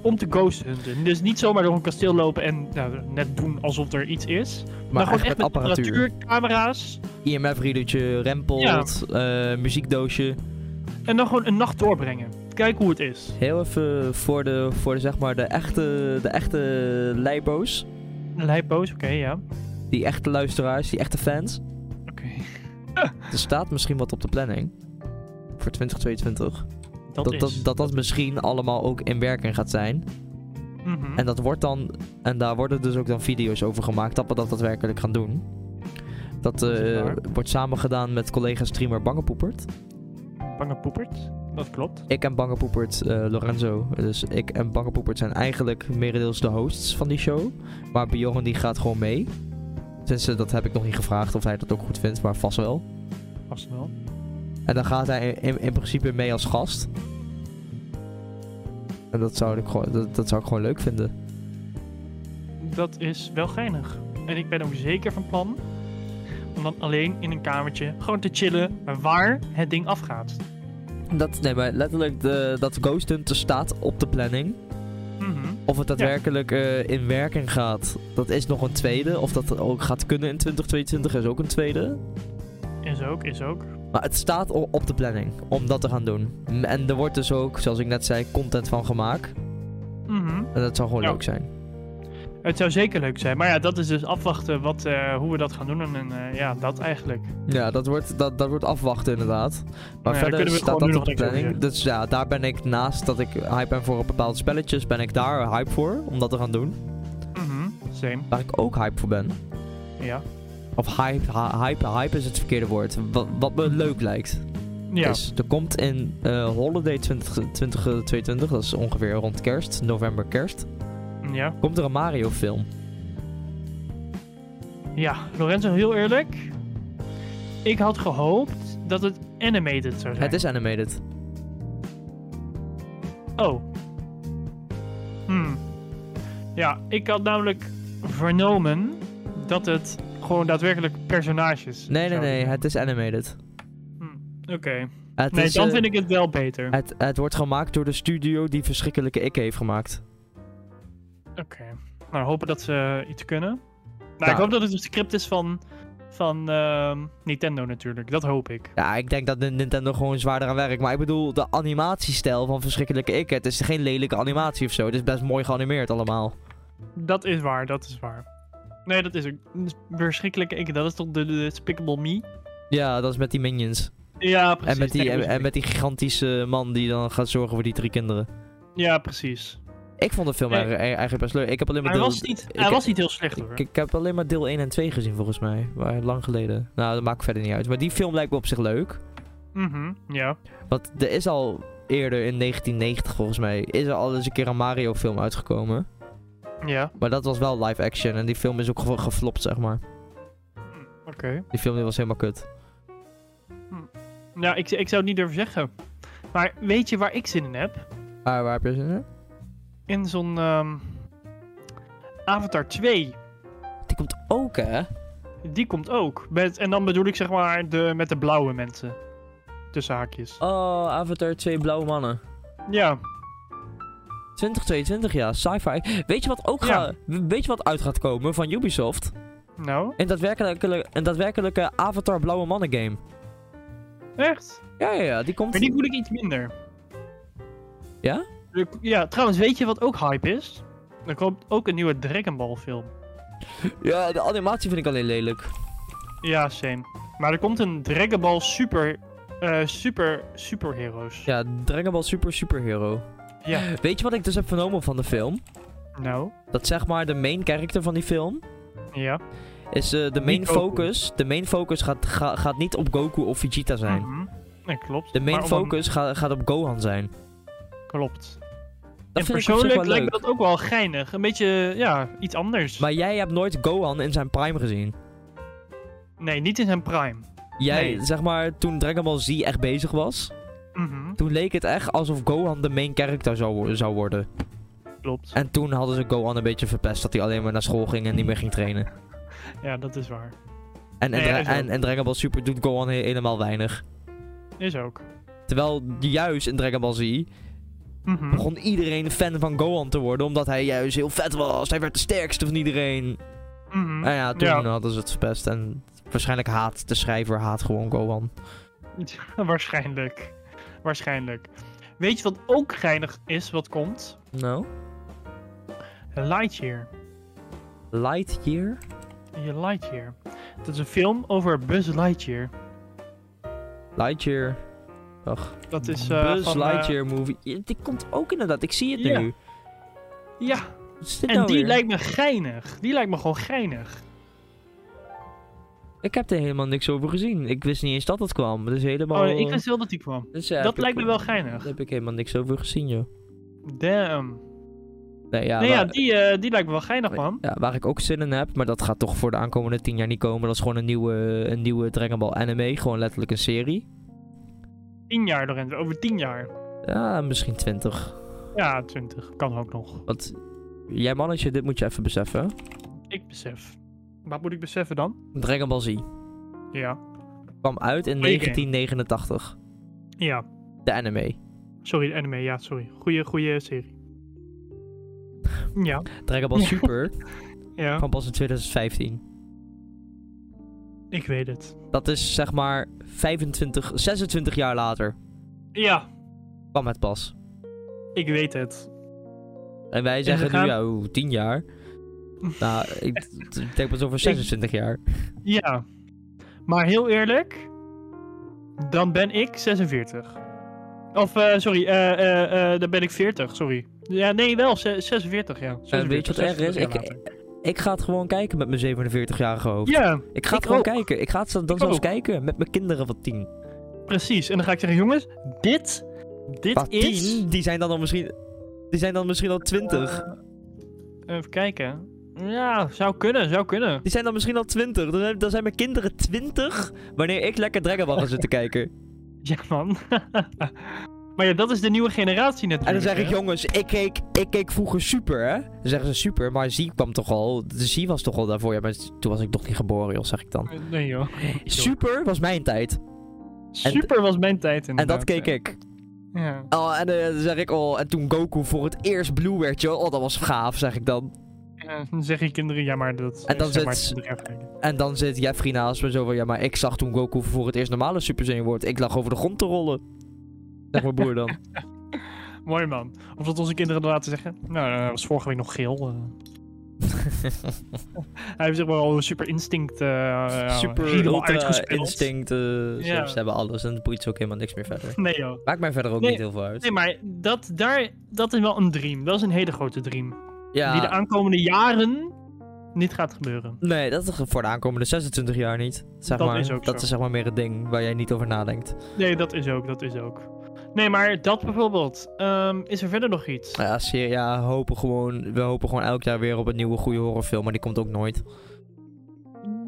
S2: om te ghost hunten. Dus niet zomaar door een kasteel lopen en nou, net doen alsof er iets is. Maar,
S1: Maar
S2: gewoon
S1: echt
S2: echt
S1: met apparatuur.
S2: apparatuur, camera's.
S1: IMF-riedertje, rempelt, eh, muziekdoosje.
S2: En dan gewoon een nacht doorbrengen. Kijken hoe het is.
S1: Heel even voor de, voor de, zeg maar, de echte, de echte leibo's.
S2: Lijpoos, oké, ja. Oké.
S1: Die echte luisteraars, die echte fans. Er staat misschien wat op de planning. Voor 2022.
S2: Dat,
S1: dat,
S2: is.
S1: dat, dat dat misschien allemaal ook in werking gaat zijn.
S2: Mhm.
S1: En dat wordt dan. En daar worden dus ook dan video's over gemaakt. Dat we dat daadwerkelijk gaan doen. Dat
S2: is
S1: eh,
S2: waar.
S1: wordt samengedaan met collega streamer Bangepoepert.
S2: Bange poepert. Dat klopt.
S1: Ik en Bangepoepert, eh, Lorenzo. Dus ik en Bangepoepert zijn eigenlijk merendeels de hosts van die show. Maar Bjorn die gaat gewoon mee. Tenminste, dat heb ik nog niet gevraagd of hij dat ook goed vindt, maar vast wel.
S2: Vast wel.
S1: En dan gaat hij in, in principe mee als gast. En dat zou ik gewoon, dat, dat zou ik gewoon leuk vinden.
S2: Dat is wel geinig. En ik ben ook zeker van plan om dan alleen in een kamertje gewoon te chillen maar waar het ding afgaat.
S1: Dat, nee, maar letterlijk, de, dat Ghost Hunter staat op de planning.
S2: Mhm.
S1: Of het daadwerkelijk eh, in werking gaat, dat is nog een tweede. Of dat ook gaat kunnen in 2022 is ook een tweede.
S2: Is ook, is ook.
S1: Maar het staat o- op de planning om dat te gaan doen. M- En er wordt dus ook, zoals ik net zei, content van gemaakt.
S2: Mhm.
S1: En dat zou gewoon
S2: Ja.
S1: leuk zijn.
S2: Het zou zeker leuk zijn. Maar ja, dat is dus afwachten wat, eh, hoe we dat gaan doen. En eh, ja, dat eigenlijk.
S1: Ja, dat wordt, dat, dat wordt afwachten inderdaad. Maar
S2: Ja, daar
S1: verder
S2: kunnen we
S1: staat
S2: gewoon
S1: dat
S2: nu
S1: op de
S2: nog niks over
S1: planning. Dus ja, daar ben ik naast dat ik hype ben voor een bepaald spelletjes, ben ik daar hype voor om dat te gaan doen.
S2: Mhm. Same.
S1: Waar ik ook hype voor ben.
S2: Ja.
S1: Of hype, hy- hype, hype is het verkeerde woord. Wat, wat me leuk lijkt.
S2: Ja.
S1: Is, er komt in eh, Holiday 20, 2022, dat is ongeveer rond kerst, november kerst,
S2: Ja.
S1: komt er een Mario film.
S2: Ja, Lorenzo, heel eerlijk. Ik had gehoopt dat het animated zou zijn.
S1: Het is animated.
S2: Oh. Hmm. Ja, ik had namelijk vernomen dat het gewoon daadwerkelijk
S1: Nee,
S2: personages
S1: nee,
S2: zouden nou
S1: nee,
S2: zijn.
S1: het is animated.
S2: Oké.
S1: Het
S2: Nee,
S1: is,
S2: dan
S1: eh,
S2: vind ik het wel beter.
S1: het, het wordt gemaakt door de studio die verschrikkelijke ik heeft gemaakt.
S2: Oké. Nou, hopen dat ze iets kunnen. Nou,
S1: Nou.
S2: ik hoop dat het een script is van, van ehm, Nintendo natuurlijk. Dat hoop ik.
S1: Ja, ik denk dat Nin- Nintendo gewoon zwaarder aan werkt. Maar ik bedoel, de animatiestijl van Verschrikkelijke Ik. Het is geen lelijke animatie of zo. Het is best mooi geanimeerd allemaal.
S2: Dat is waar, dat is waar. Nee, dat is ook verschrikkelijk. Ik, dat is toch de, de Despicable Me?
S1: Ja, dat is met die minions.
S2: Ja, precies.
S1: en, met die,
S2: Nee,
S1: en,
S2: dat is-
S1: en met die gigantische man die dan gaat zorgen voor die drie kinderen.
S2: Ja, precies.
S1: Ik vond de film
S2: Nee.
S1: eigenlijk eigenlijk best leuk. Ik heb alleen maar
S2: Hij
S1: deel...
S2: was niet, hij
S1: ik-
S2: was niet heel slecht hoor.
S1: Ik, ik heb alleen maar deel 1 en 2 gezien volgens mij. Maar lang geleden. Nou, dat maakt verder niet uit. Maar die film lijkt me op zich leuk.
S2: Mhm, ja.
S1: Want er is al eerder in 1990 volgens mij... is er al eens een keer een Mario film uitgekomen.
S2: Ja,
S1: Maar dat was wel live action. En die film is ook gewoon geflopt, zeg maar.
S2: oké.
S1: Die film die was helemaal kut.
S2: Nou, ik, ik zou het niet durven zeggen. Maar weet je waar ik zin in heb?
S1: Maar waar heb je zin in?
S2: In zo'n ehm, Avatar 2.
S1: Die komt ook, hè?
S2: Die komt ook. Met, en dan bedoel ik zeg maar de, met de blauwe mensen. Tussen haakjes.
S1: Oh, Avatar 2 Blauwe Mannen.
S2: Ja,
S1: 2022, ja, sci-fi. Weet je wat ook
S2: Ja.
S1: ga- we- weet je wat uit gaat komen van Ubisoft?
S2: nou,
S1: Een daadwerkelijke, een daadwerkelijke Avatar Blauwe Mannen game.
S2: echt.
S1: Ja, ja, ja, die komt...
S2: Maar die voel ik iets minder.
S1: Ja?
S2: Er- Ja, trouwens, weet je wat ook hype is? Er komt ook een nieuwe Dragon Ball film.
S1: Ja, de animatie vind ik alleen lelijk.
S2: Ja, same. Maar er komt een Dragon Ball Super... eh, super... Superheroes.
S1: Ja, Dragon Ball Super Superhero.
S2: Ja.
S1: Weet je wat ik dus heb vernomen van de film?
S2: Nou,
S1: Dat zeg maar de main character van die film...
S2: ja.
S1: is eh, de main
S2: Niet Goku.
S1: focus... De main focus gaat, ga- gaat niet op Goku of Vegeta zijn.
S2: Mhm. Nee, klopt.
S1: De main
S2: Maar om een-
S1: focus ga- gaat op Gohan zijn.
S2: Klopt.
S1: Dat
S2: en
S1: vind ik op zich
S2: persoonlijk
S1: wel
S2: lijkt me
S1: leuk.
S2: dat ook wel geinig. Een beetje, ja, iets anders.
S1: Maar jij hebt nooit Gohan in zijn prime gezien.
S2: Nee, niet in zijn prime.
S1: Jij,
S2: Nee.
S1: zeg maar, toen Dragon Ball Z echt bezig was,
S2: Mhm,
S1: toen leek het echt alsof Gohan de main character zou, wo- zou worden.
S2: klopt.
S1: En toen hadden ze Gohan een beetje verpest dat hij alleen maar naar school ging en niet meer ging trainen.
S2: Ja, dat is waar.
S1: En, en,
S2: Nee,
S1: Dra-
S2: dat is ook-
S1: en, en Dragon Ball Super doet Gohan he- helemaal weinig.
S2: Is ook.
S1: Terwijl juist in Dragon Ball Z
S2: Mhm.
S1: begon iedereen fan van Gohan te worden, omdat hij juist heel vet was. Hij werd de sterkste van iedereen.
S2: Mhm.
S1: Nou ja, toen
S2: Ja.
S1: hadden ze het verpest. En waarschijnlijk haat de schrijver, haat gewoon Gohan.
S2: Waarschijnlijk. Waarschijnlijk. Weet je wat ook geinig is wat komt?
S1: Nou?
S2: Lightyear.
S1: Lightyear?
S2: Je Lightyear. Dat is een film over Buzz Lightyear.
S1: Lightyear. Ach,
S2: Dat is eh,
S1: Buzz
S2: van, eh,
S1: Lightyear movie. Ja, die komt ook inderdaad, ik zie het
S2: Ja.
S1: nu.
S2: ja,
S1: Wat is dit
S2: en
S1: nou
S2: die
S1: weer?
S2: lijkt me geinig. Die lijkt me gewoon geinig. Oh,
S1: Ik heb er helemaal niks over gezien. Ik wist niet eens dat het kwam. Het is helemaal...
S2: Oh, ik wist wel dat die kwam.
S1: dus ja, heb
S2: dat
S1: ik-
S2: lijkt me wel
S1: Daar
S2: geinig.
S1: heb ik helemaal niks over gezien, joh.
S2: Damn.
S1: Nee, ja,
S2: nee,
S1: waar,
S2: ja, die, eh, die lijkt me wel geinig, man.
S1: ja, waar ik ook zin in heb, maar dat gaat toch voor de aankomende tien jaar niet komen. Dat is gewoon een nieuwe, een nieuwe Dragon Ball anime. Gewoon letterlijk een serie.
S2: Tien jaar, Lorenzo. Over tien jaar.
S1: Ja, misschien twintig.
S2: Ja, twintig. Kan ook nog.
S1: Want jij mannetje, dit moet je even beseffen.
S2: Ik besef. Wat moet ik beseffen dan?
S1: Dragon Ball Z
S2: Ja.
S1: kwam uit in
S2: Goeie
S1: 1989.
S2: Ja.
S1: De anime.
S2: Sorry, de anime. Ja, sorry. Goeie, goeie serie. Ja.
S1: Dragon Ball
S2: Ja.
S1: Super
S2: Ja.
S1: kwam pas in 2015.
S2: Ik weet het.
S1: Dat is zeg maar 25, 26 jaar later
S2: Ja.
S1: kwam het pas.
S2: Ik weet het.
S1: En wij zeggen
S2: gaan-
S1: nu, ja, oeh, 10 jaar. nou, ik d- ik denk pas over 26 jaar.
S2: Ja. Maar heel eerlijk, dan ben ik 46. Of, eh, sorry, eh, eh, eh, dan ben ik 40, sorry. Ja, nee, wel, ze- 46, ja. 46,
S1: Eh, weet je wat erg is?
S2: 46 jaar
S1: Ik-
S2: later.
S1: Ik ga het gewoon kijken met mijn 47-jarige hoofd.
S2: Ja,
S1: ik ga het
S2: ik
S1: gewoon
S2: ook.
S1: kijken. Ik ga het dan
S2: Ik
S1: zelfs
S2: ook.
S1: kijken met mijn kinderen van 10.
S2: precies. En dan ga ik zeggen, jongens, dit, dit
S1: Maar
S2: is...
S1: 10, die zijn dan al misschien... Die zijn dan misschien al 20.
S2: Eh, even kijken. Ja, zou kunnen, zou kunnen.
S1: Die zijn dan misschien al 20. Dan zijn, dan zijn mijn kinderen 20 wanneer ik lekker Dragon Ball ga zitten kijken.
S2: Ja, man. maar ja, dat is de nieuwe generatie natuurlijk.
S1: En dan zeg ik,
S2: hè?
S1: jongens, ik keek, ik keek vroeger super, hè? Dan zeggen ze super, maar Z kwam toch al. De Z was toch al daarvoor. Ja, maar toen was ik nog niet geboren, joh, zeg ik dan.
S2: Nee, joh.
S1: Super was mijn tijd.
S2: Super was mijn tijd
S1: En
S2: inderdaad.
S1: dat keek ik.
S2: Ja.
S1: Oh, en eh, dan zeg ik, oh, en toen Goku voor het eerst blue werd, joh. Oh, dat was gaaf, zeg ik dan.
S2: Ja, dan zeg je kinderen, ja, maar dat
S1: En dan
S2: zeg maar,
S1: zit-
S2: kinderen gaan kijken.
S1: En dan zit Jeffrey naast me zo van, ja, maar ik zag toen Goku voor het eerst normale Super Saiyan wordt. Ik lag over de grond te rollen. Zeg mijn broer dan.
S2: Mooi man. Of dat onze kinderen dan laten zeggen. Nou, eh, was vorige week nog geel. eh." Hij heeft zeg maar al een super instinct. eh, ja,
S1: super
S2: helemaal
S1: ultra
S2: uitgespeeld.
S1: instinct. eh, ze-
S2: Ja.
S1: Ze hebben alles en het boeit ze ook helemaal niks meer verder.
S2: Nee joh.
S1: Maakt mij verder ook
S2: Nee,
S1: niet heel veel uit.
S2: Nee, maar dat, daar, dat is wel een dream. Dat is een hele grote dream. Die de
S1: ja,
S2: aankomende jaren niet gaat gebeuren.
S1: nee, dat is voor de aankomende 26 jaar niet. Zeg
S2: Dat
S1: maar,
S2: is ook
S1: dat
S2: zo.
S1: is zeg maar meer het ding waar jij niet over nadenkt.
S2: Nee, dat is ook, dat is ook. Nee, maar dat bijvoorbeeld. Ehm, is er verder nog iets?
S1: Nou Ja, serie, ja hopen gewoon, we hopen gewoon elk jaar weer op een nieuwe goede horrorfilm, maar die komt ook nooit.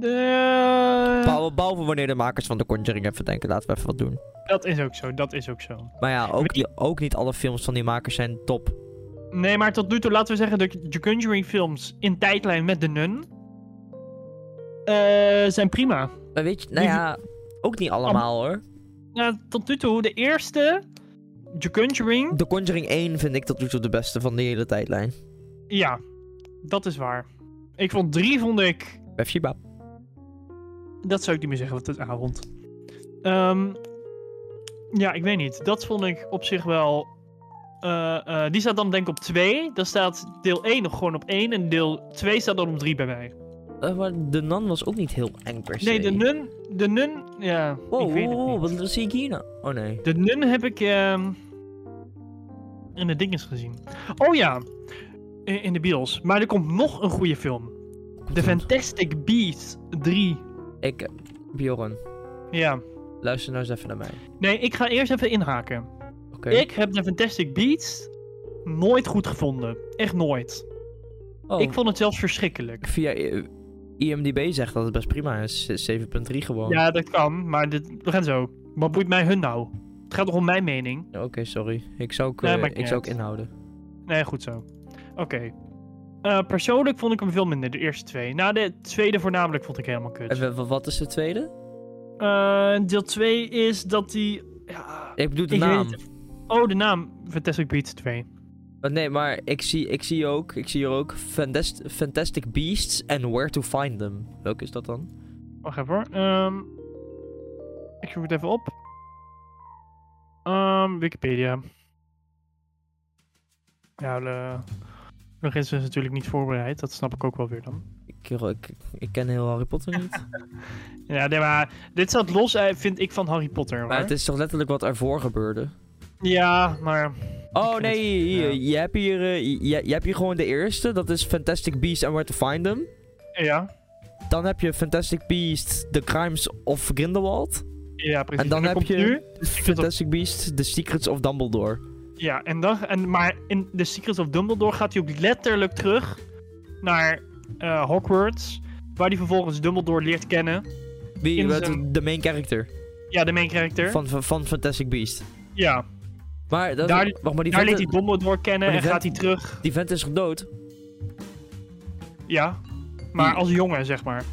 S2: Eh,
S1: Behalve, behalve wanneer de makers van The Conjuring even denken, laten we even wat doen.
S2: dat is ook zo, dat is ook zo.
S1: Maar ja, ook,
S2: Weet je-
S1: die- ook niet alle films van die makers zijn top.
S2: Nee, maar tot nu toe laten we zeggen dat de Conjuring films in tijdlijn met de Nun eh, zijn prima.
S1: Maar weet je, nou
S2: Die-
S1: ja, ook niet allemaal hoor.
S2: Ja, tot nu toe de eerste, The Conjuring,
S1: The Conjuring 1 vind ik tot nu toe de beste van de hele tijdlijn.
S2: ja, dat is waar. Ik vond drie, vond ik,
S1: Bij Shiba.
S2: dat zou ik niet meer zeggen, want het is avond. Ehm, ja, ik weet niet. Dat vond ik op zich wel. eh, eh, die staat dan denk ik op 2. Dan staat deel 1 nog gewoon op 1. En deel 2 staat dan op 3 bij mij.
S1: Eh, maar de nan was ook niet heel eng per se. Oh,
S2: Nee, de nun. De nun. Ja,
S1: Wow,
S2: ik weet het
S1: wow,
S2: niet.
S1: wow, wat zie ik hier nou? Oh nee.
S2: De nun heb ik ehm, in de dinges gezien. Oh ja, in, in de bios. Maar er komt nog een goede film. The Fantastic Beasts 3.
S1: Ik, eh, Bjorn,
S2: Ja.
S1: luister nou eens even naar mij.
S2: Nee, ik ga eerst even inhaken.
S1: Oké.
S2: Ik heb The Fantastic Beasts nooit goed gevonden. Echt nooit.
S1: Oh,
S2: Ik vond het zelfs verschrikkelijk.
S1: via, eh, IMDB zegt dat het best prima is. 7.3 gewoon.
S2: Ja, dat kan, maar dit, Lorenzo, wat boeit mij hun nou? Het gaat toch om mijn mening?
S1: Oké, sorry. Ik zou ook,
S2: Nee,
S1: eh,
S2: maakt
S1: ik
S2: niet
S1: zou ook
S2: uit.
S1: inhouden.
S2: Nee, goed zo. Oké. Eh, persoonlijk vond ik hem veel minder, de eerste twee. Na de tweede voornamelijk vond ik helemaal kut.
S1: En wa- wa- wat is de tweede?
S2: Eh, deel 2 is dat die... Ja.
S1: Ik bedoel de
S2: Ik weet
S1: naam.
S2: Oh, de naam. Fantastic Beasts 2.
S1: Maar Nee, maar ik zie, ik zie ook, ik zie hier ook Fantast- Fantastic Beasts and Where to Find Them. Welke is dat dan?
S2: Wacht even hoor. Ehm, ik zoek het even op. Ehm, Wikipedia. Ja, de... Lorenz is natuurlijk niet voorbereid. Dat snap ik ook wel weer dan.
S1: Ik, ik, ik ken heel Harry Potter niet.
S2: Ja, nee, maar dit staat los, eh, vind ik, van Harry Potter. hoor.
S1: maar het is toch letterlijk wat ervoor gebeurde?
S2: Ja, maar...
S1: Oh
S2: vind
S1: nee, hier,
S2: ja.
S1: je, hebt hier, eh, je, je hebt hier gewoon de eerste. Dat is Fantastic Beasts and Where to Find Them.
S2: Ja,
S1: Dan heb je Fantastic Beasts, The Crimes of Grindelwald.
S2: ja precies.
S1: En dan heb
S2: komt
S1: je-
S2: Nu, vind dat-
S1: Fantastic Beasts, The Secrets of Dumbledore.
S2: ja, en dan... En, maar in The Secrets of Dumbledore gaat hij ook letterlijk terug naar eh, Hogwarts. Waar hij vervolgens Dumbledore leert kennen.
S1: Wie,
S2: In
S1: wat-
S2: zijn-
S1: de main character
S2: Ja, de main character.
S1: van, van, van Fantastic Beasts.
S2: Ja,
S1: Maar, dat,
S2: Daar-
S1: wacht, maar die,
S2: daar
S1: vent,
S2: leert hij Dumbledore kennen
S1: maar
S2: en
S1: die
S2: gaat hij
S1: vent-
S2: terug.
S1: die vent is gedood.
S2: Ja, maar
S1: Die-
S2: als jongen, zeg maar.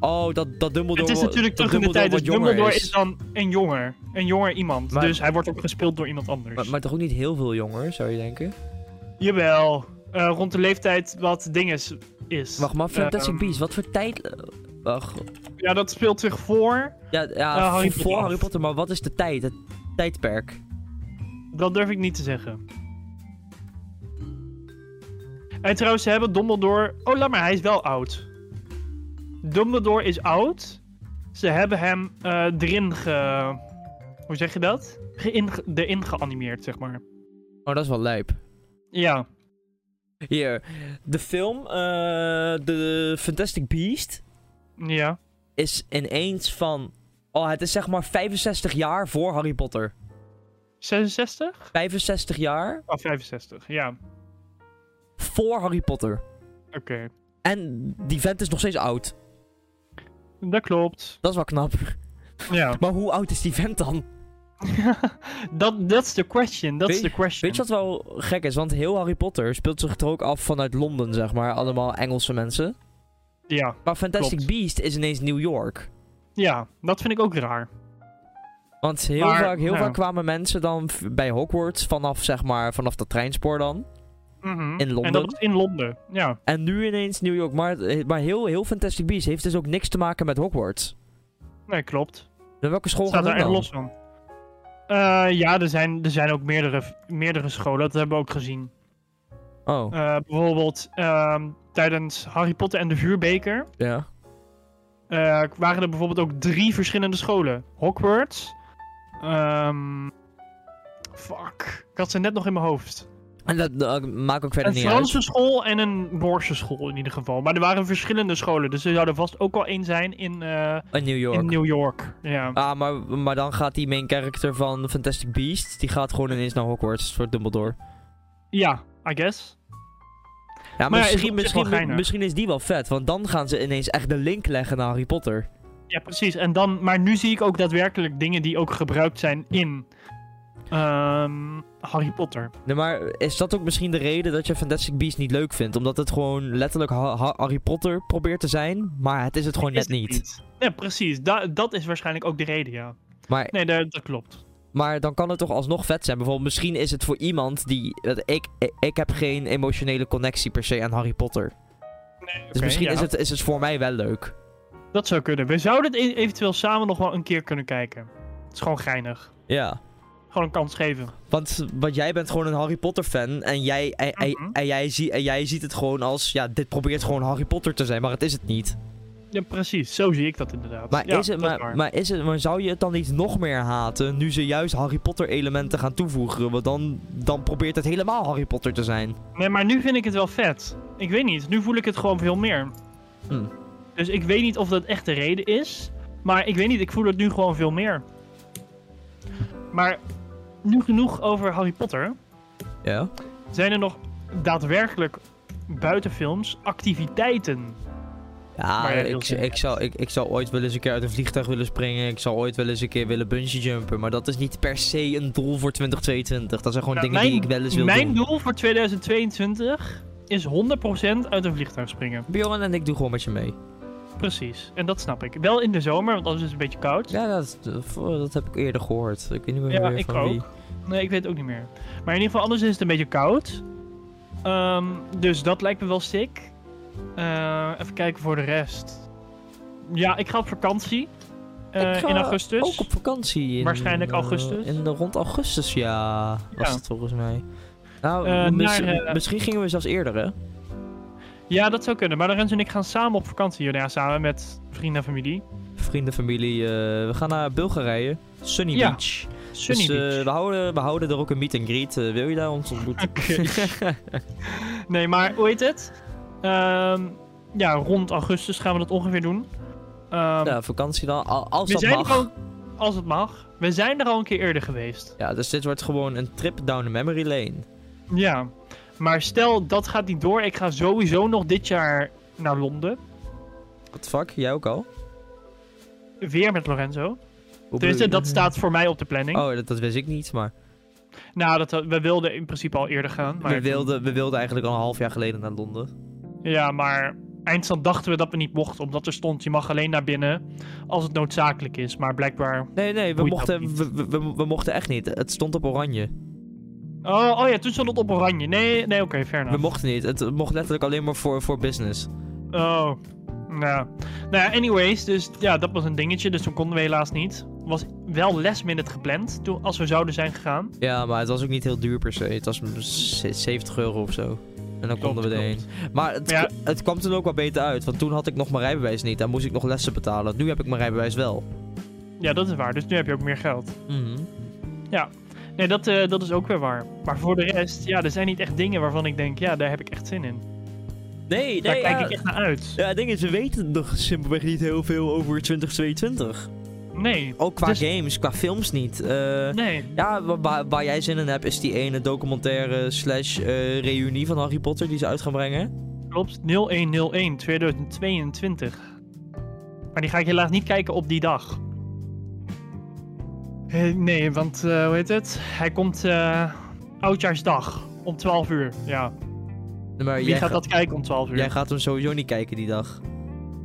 S1: Oh, dat, dat Dumbledore
S2: Het is
S1: wel-
S2: natuurlijk
S1: dat
S2: terug in de
S1: Dumbledore
S2: tijd, dus
S1: wat jonger
S2: Dumbledore
S1: is.
S2: is. dan een jonger. Een jonger iemand.
S1: Maar-
S2: Dus hij wordt ook gespeeld door iemand anders.
S1: Maar, maar toch ook niet heel veel jonger, zou je denken?
S2: Jawel. Eh, rond de leeftijd wat dinges is.
S1: Wacht, maar Fantastic
S2: Ehm,
S1: Beasts, wat voor tijd... Wacht,
S2: Ja, dat speelt zich voor.
S1: ja, ja
S2: Eh, Harry
S1: voor
S2: Potter.
S1: Harry Potter, maar wat is de tijd? Het tijdperk?
S2: Dat durf ik niet te zeggen. En trouwens, ze hebben Dumbledore... Oh, laat maar, hij is wel oud. Dumbledore is oud. Ze hebben hem eh, erin ge... Hoe zeg je dat? Geïnge- erin geanimeerd, zeg maar.
S1: Oh, dat is wel lijp.
S2: Ja.
S1: Hier, de film, eh, de Fantastic Beast,
S2: Ja.
S1: is ineens van... Oh, het is zeg maar 65 jaar voor Harry Potter.
S2: 66?
S1: 65 jaar
S2: Oh, 65. Ja, oké.
S1: voor Harry Potter. En die vent is nog steeds oud.
S2: Dat klopt.
S1: Dat is wel knap.
S2: Ja.
S1: Maar hoe oud is die vent dan?
S2: Dat that's the question. That's
S1: Weet-
S2: the question.
S1: Weet je wat wel gek is? Want heel Harry Potter speelt zich er ook af vanuit Londen, zeg maar. Allemaal Engelse mensen.
S2: Ja.
S1: Maar Fantastic
S2: Klopt.
S1: Beast is ineens New York.
S2: ja, dat vind ik ook raar.
S1: Want heel,
S2: Maar,
S1: vaak, heel
S2: nou.
S1: vaak kwamen mensen dan v- bij Hogwarts vanaf, zeg maar, vanaf dat treinspoor dan.
S2: Mhm. En
S1: Londen?
S2: dat was in Londen. Ja.
S1: En nu ineens New York. Maar, eh, maar heel, heel Fantastic Beast heeft dus ook niks te maken met Hogwarts.
S2: Nee, klopt.
S1: Naar welke school
S2: Staat
S1: gaat
S2: er
S1: het
S2: echt
S1: dan?
S2: los van. Eh, ja, er zijn, er zijn ook meerdere, meerdere scholen. Dat hebben we ook gezien.
S1: Oh,
S2: Eh, bijvoorbeeld ehm, tijdens Harry Potter en de Vuurbeker
S1: ja.
S2: eh, waren er bijvoorbeeld ook drie verschillende scholen. Hogwarts. ehm, fuck. Ik had ze net nog in mijn hoofd.
S1: En dat eh, maakt ook verder
S2: een
S1: niet uit.
S2: Franse school en een Noorse school in ieder geval. Maar er waren verschillende scholen. Dus er zou er vast ook wel één zijn in, eh,
S1: In New York.
S2: in New York. Ja.
S1: Ah, maar, maar dan gaat die main character van Fantastic Beast, die gaat gewoon ineens naar Hogwarts voor Dumbledore.
S2: ja, I guess.
S1: Ja,
S2: Maar ja, is op zich
S1: misschien,
S2: wel
S1: misschien,
S2: geinig.
S1: misschien is die wel vet, want dan gaan ze ineens echt de link leggen naar Harry Potter.
S2: Ja, precies. En dan, maar nu zie ik ook daadwerkelijk dingen die ook gebruikt zijn in ehm, Harry Potter.
S1: Nee, maar is dat ook misschien de reden dat je Fantastic Beast niet leuk vindt? Omdat het gewoon letterlijk Ha- Ha- Harry Potter probeert te zijn, maar het is het gewoon
S2: Is
S1: net
S2: het
S1: niet.
S2: Ja, precies. Da- dat is waarschijnlijk ook de reden, ja.
S1: Maar,
S2: Nee, dat, dat klopt.
S1: maar dan kan het toch alsnog vet zijn. Bijvoorbeeld, misschien is het voor iemand die... dat Ik, ik- ik heb geen emotionele connectie per se aan Harry Potter. Dus
S2: Oké,
S1: misschien
S2: ja,
S1: is, het, is het voor mij wel leuk.
S2: Dat zou kunnen. We zouden het e- eventueel samen nog wel een keer kunnen kijken. Het is gewoon geinig.
S1: Ja.
S2: Gewoon een kans geven.
S1: Want, want jij bent gewoon een Harry Potter fan en jij, en, en-
S2: Mhm.
S1: en jij, zie, en jij ziet het gewoon als, ja, dit probeert gewoon Harry Potter te zijn, maar het is het niet.
S2: Ja, precies. Zo zie ik dat inderdaad.
S1: Maar,
S2: Ja,
S1: is, het,
S2: dat
S1: maar,
S2: waar.
S1: maar, is het, maar zou je het dan niet nog meer haten nu ze juist Harry Potter elementen gaan toevoegen? Want dan, dan probeert het helemaal Harry Potter te zijn.
S2: Nee, maar nu vind ik het wel vet. Ik weet niet, nu voel ik het gewoon veel meer.
S1: Hm.
S2: Dus ik weet niet of dat echt de reden is. Maar ik weet niet, ik voel het nu gewoon veel meer. Maar nu genoeg over Harry Potter.
S1: Ja.
S2: Zijn er nog daadwerkelijk buiten films activiteiten
S1: Ja,
S2: Maar ja, heel
S1: ik,
S2: simpel.
S1: ik, zou, ik, ik zou ooit wel eens een keer uit een vliegtuig willen springen. Ik zou ooit wel eens een keer willen bungee jumpen. Maar dat is niet per se een doel voor 2022. Dat zijn gewoon
S2: Nou,
S1: dingen die ik wel eens wil
S2: mijn
S1: doen.
S2: doel voor 2022 is 100% uit een vliegtuig springen.
S1: Bjorn en ik doen gewoon met je mee.
S2: Precies. En dat snap ik. Wel in de zomer, want anders is het een beetje koud.
S1: Ja, dat, dat heb ik eerder gehoord. Ik weet niet meer,
S2: Ja,
S1: meer
S2: ik
S1: van
S2: ook.
S1: wie.
S2: Nee, ik weet het ook niet meer. Maar in ieder geval, anders is het een beetje koud. Ehm, dus dat lijkt me wel sick. Eh, even kijken voor de rest. Ja, ik ga op vakantie. eh,
S1: Ik ga
S2: in augustus.
S1: Ook op vakantie. In,
S2: Waarschijnlijk
S1: eh,
S2: augustus.
S1: in de, rond augustus, ja. Was
S2: Ja.
S1: het volgens mij. Nou,
S2: Eh,
S1: mis-
S2: naar, eh,
S1: misschien gingen we zelfs eerder, hè?
S2: Ja, dat zou kunnen. Maar Lorenz en ik gaan samen op vakantie. Ja, samen met vrienden en familie.
S1: Vrienden, familie. eh, we gaan naar Bulgarije. Sunny
S2: Ja,
S1: Beach.
S2: Sunny
S1: dus eh,
S2: Beach.
S1: we, houden, we houden er ook een meet and greet. Eh, wil je daar ons ontmoeten?
S2: Oké. nee, maar hoe heet het? Ehm, ja, rond augustus gaan we dat ongeveer doen. Ehm,
S1: ja, vakantie dan. Al- Nou, Als
S2: we
S1: dat
S2: zijn
S1: mag.
S2: er al, als het mag. We zijn er al een keer eerder geweest.
S1: Ja, dus dit wordt gewoon een trip down the memory lane.
S2: Ja. Maar stel, dat gaat niet door. Ik ga sowieso nog dit jaar naar Londen.
S1: What the fuck? Jij ook al?
S2: Weer met Lorenzo.
S1: Hoe
S2: Tenminste,
S1: bedoel
S2: dat
S1: je?
S2: staat voor mij op de planning.
S1: Oh, dat, dat wist ik niet, maar...
S2: Nou, dat, we wilden in principe al eerder gaan. Maar
S1: we, wilden, we wilden eigenlijk al een half jaar geleden naar Londen.
S2: Ja, maar eindstand dachten we dat we niet mochten. Omdat er stond, je mag alleen naar binnen als het noodzakelijk is. Maar blijkbaar...
S1: Nee, nee, we
S2: Boeit
S1: mochten,
S2: dat niet.
S1: we, we, we- we mochten echt niet. Het stond op oranje.
S2: Oh, oh ja, toen stond het op oranje. Nee, nee oké, fair
S1: We
S2: enough.
S1: mochten niet. Het mocht letterlijk alleen maar voor, voor business.
S2: Oh, nou. Nou ja, anyways, dus ja, dat was een dingetje. Dus toen konden we helaas niet. Was wel last minute gepland, toen, als we zouden zijn gegaan.
S1: Ja, maar het was ook niet heel duur per se. Het was m- ze- 70 euro of zo. En dan konden we
S2: Klopt,
S1: erheen.
S2: klopt.
S1: Maar het,
S2: Ja.
S1: het kwam toen ook wel beter uit. Want toen had ik nog mijn rijbewijs niet. En moest ik nog lessen betalen. Nu heb ik mijn rijbewijs wel.
S2: Ja, dat is waar. Dus nu heb je ook meer geld.
S1: Mhm.
S2: Nee, dat, eh, dat is ook weer waar. Maar voor de rest, ja, er zijn niet echt dingen waarvan ik denk, ja, daar heb ik echt zin in.
S1: Nee,
S2: Daar
S1: nee,
S2: kijk
S1: ja.
S2: ik echt naar uit.
S1: Ja, het ding is, we weten nog simpelweg niet heel veel over 2022.
S2: Nee,
S1: Ook qua
S2: Dus-
S1: games, qua films niet. Eh,
S2: nee.
S1: ja, wa- wa- waar, jij zin in hebt is die ene documentaire slash eh, reunie van Harry Potter die ze uit gaan brengen.
S2: Klopt, 0101 2022. Maar die ga ik helaas niet kijken op die dag. Eh, Nee, want eh, hoe heet het? Hij komt eh, oudjaarsdag om 12 uur. Ja.
S1: Maar
S2: Wie
S1: Oh, jij,
S2: gaat
S1: ga-
S2: dat kijken om 12 uur?
S1: jij gaat hem sowieso niet kijken die dag.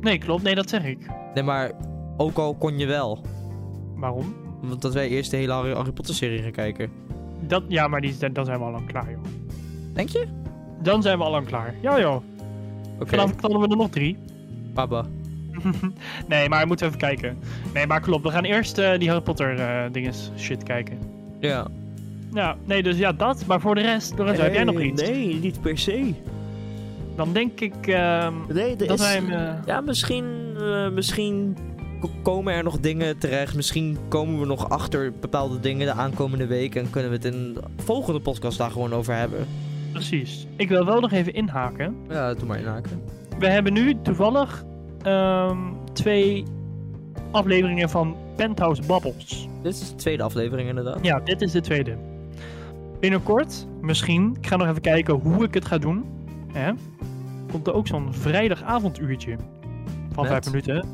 S2: Nee, klopt. Nee, dat zeg ik.
S1: Nee, maar ook al kon je wel.
S2: Waarom?
S1: Want dat wij eerst de hele Harry, Harry Potter serie gaan kijken.
S2: Dat, ja, maar die, dan zijn we al lang klaar, joh.
S1: Denk je?
S2: Dan zijn we al lang klaar. Ja, joh.
S1: Oké,
S2: Vanavond knallen we er nog drie.
S1: papa.
S2: nee, maar moeten we even kijken. Nee, maar klopt. We gaan eerst eh, die Harry Potter eh, dinges shit kijken.
S1: Ja.
S2: Ja, nee, dus ja, dat. Maar voor de rest, Lorenzo, heb jij nog iets?
S1: Eh, Nee, niet per se.
S2: Dan denk ik ehm,
S1: Nee, er is...
S2: dat wij hem... eh,
S1: Ja, misschien, eh, misschien ko- komen er nog dingen terecht. Misschien komen we nog achter bepaalde dingen de aankomende week. En kunnen we het in de volgende podcast daar gewoon over hebben.
S2: Precies. Ik wil wel nog even inhaken.
S1: Ja, doe maar inhaken.
S2: We hebben nu toevallig ehm, twee afleveringen van Penthouse Bubbles.
S1: Dit is de tweede aflevering inderdaad.
S2: Ja, dit is de tweede. Binnenkort, misschien, ik ga nog even kijken hoe ik het ga doen. Hè? Komt er ook zo'n vrijdagavonduurtje. Van
S1: Met?
S2: vijf minuten.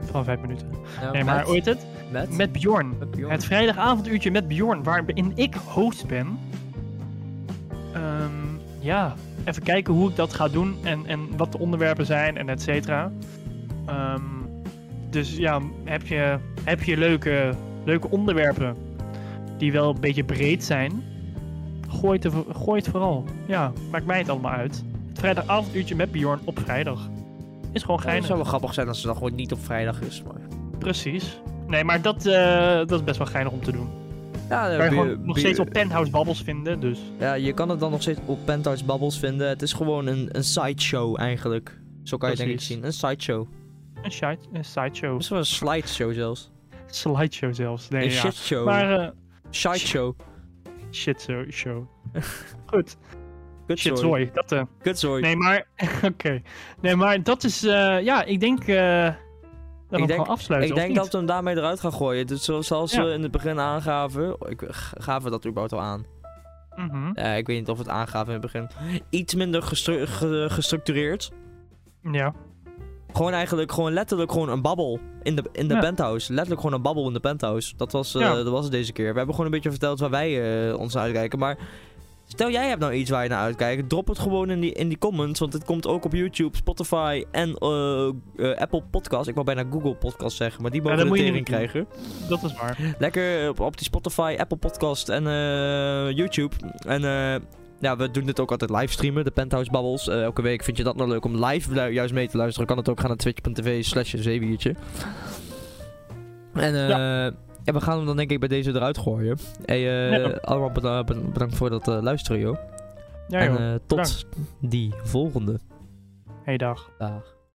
S2: Van vijf minuten.
S1: Ja,
S2: nee, maar
S1: met-
S2: ooit het?
S1: Met?
S2: Met Bjorn.
S1: met Bjorn.
S2: Het vrijdagavonduurtje met Bjorn, waarin ik host ben. Ehm, ja, even kijken hoe ik dat ga doen en, en wat de onderwerpen zijn en et cetera. Ehm, dus ja, heb je, heb je leuke, leuke onderwerpen die wel een beetje breed zijn? Gooi het, er- gooi het vooral. Ja, maakt mij het allemaal uit. Het vrijdagavonduurtje met Bjorn op vrijdag. Is gewoon
S1: Ja, het
S2: geinig.
S1: zou Oh, wel grappig zijn als het dan gewoon niet op vrijdag is. Maar...
S2: Precies. Nee, maar dat, eh, dat is best wel geinig om te doen.
S1: Ja,
S2: Kan je
S1: Bjor-
S2: gewoon nog
S1: Bjor-
S2: steeds op Penthouse Babbels vinden, dus...
S1: ja, je kan het dan nog steeds op Penthouse Bubbles vinden. Het is gewoon een, een sideshow eigenlijk. Zo kan je het denk ik
S2: Precies.
S1: zien. Een sideshow.
S2: Een, shi- een sideshow.
S1: Misschien wel een slideshow zelfs.
S2: Slideshow zelfs. Nee,
S1: een
S2: ja.
S1: shitshow.
S2: Maar eh
S1: Sideshow.
S2: shit show. show. Goed. Shit
S1: Kutzooi.
S2: zooi. Dat, eh
S1: Kutzooi.
S2: nee, maar... Oké. Nee, maar dat is... eh, ja, ik denk... eh dat we
S1: denk-
S2: hem gewoon afsluiten,
S1: Ik
S2: of
S1: denk
S2: niet?
S1: dat we hem daarmee eruit gaan gooien. Dus zo- zoals
S2: Ja.
S1: we in het begin aangaven. Ik, g- gaven we dat überhaupt al aan?
S2: Mhm.
S1: Eh, ik weet niet of we het aangaven in het begin. Iets minder gestru- ge- gestructureerd.
S2: Ja.
S1: Gewoon eigenlijk, gewoon letterlijk gewoon een babbel in de, in de
S2: Ja.
S1: penthouse. Letterlijk gewoon een babbel in de penthouse. Dat was, eh,
S2: Ja.
S1: dat was het deze keer. We hebben gewoon een beetje verteld waar wij eh, ons naar uitkijken. Maar stel jij hebt nou iets waar je naar uitkijkt. Drop het gewoon in die, in die comments. Want het komt ook op YouTube, Spotify en eh, eh, Apple Podcast. Ik wou bijna Google Podcast zeggen, maar die mogen
S2: dat
S1: de
S2: moet je
S1: tering
S2: niet doen.
S1: krijgen.
S2: Dat is waar.
S1: Lekker op, op die Spotify, Apple Podcast en eh, YouTube. En eh, ja, we doen dit ook altijd live streamen, de Penthouse Babbels. Eh, elke week vind je dat nou leuk om live lu- juist mee te luisteren. Kan het ook gaan naar twitch.tv slash een zeewiertje. En eh, ja. we gaan hem dan denk ik bij deze eruit gooien. Hey, eh,
S2: Ja.
S1: Allemaal beda- beda- bedankt voor dat eh, luisteren, joh.
S2: Ja,
S1: en
S2: joh.
S1: eh, tot
S2: Bedankt.
S1: die volgende
S2: Hey, dag.
S1: dag.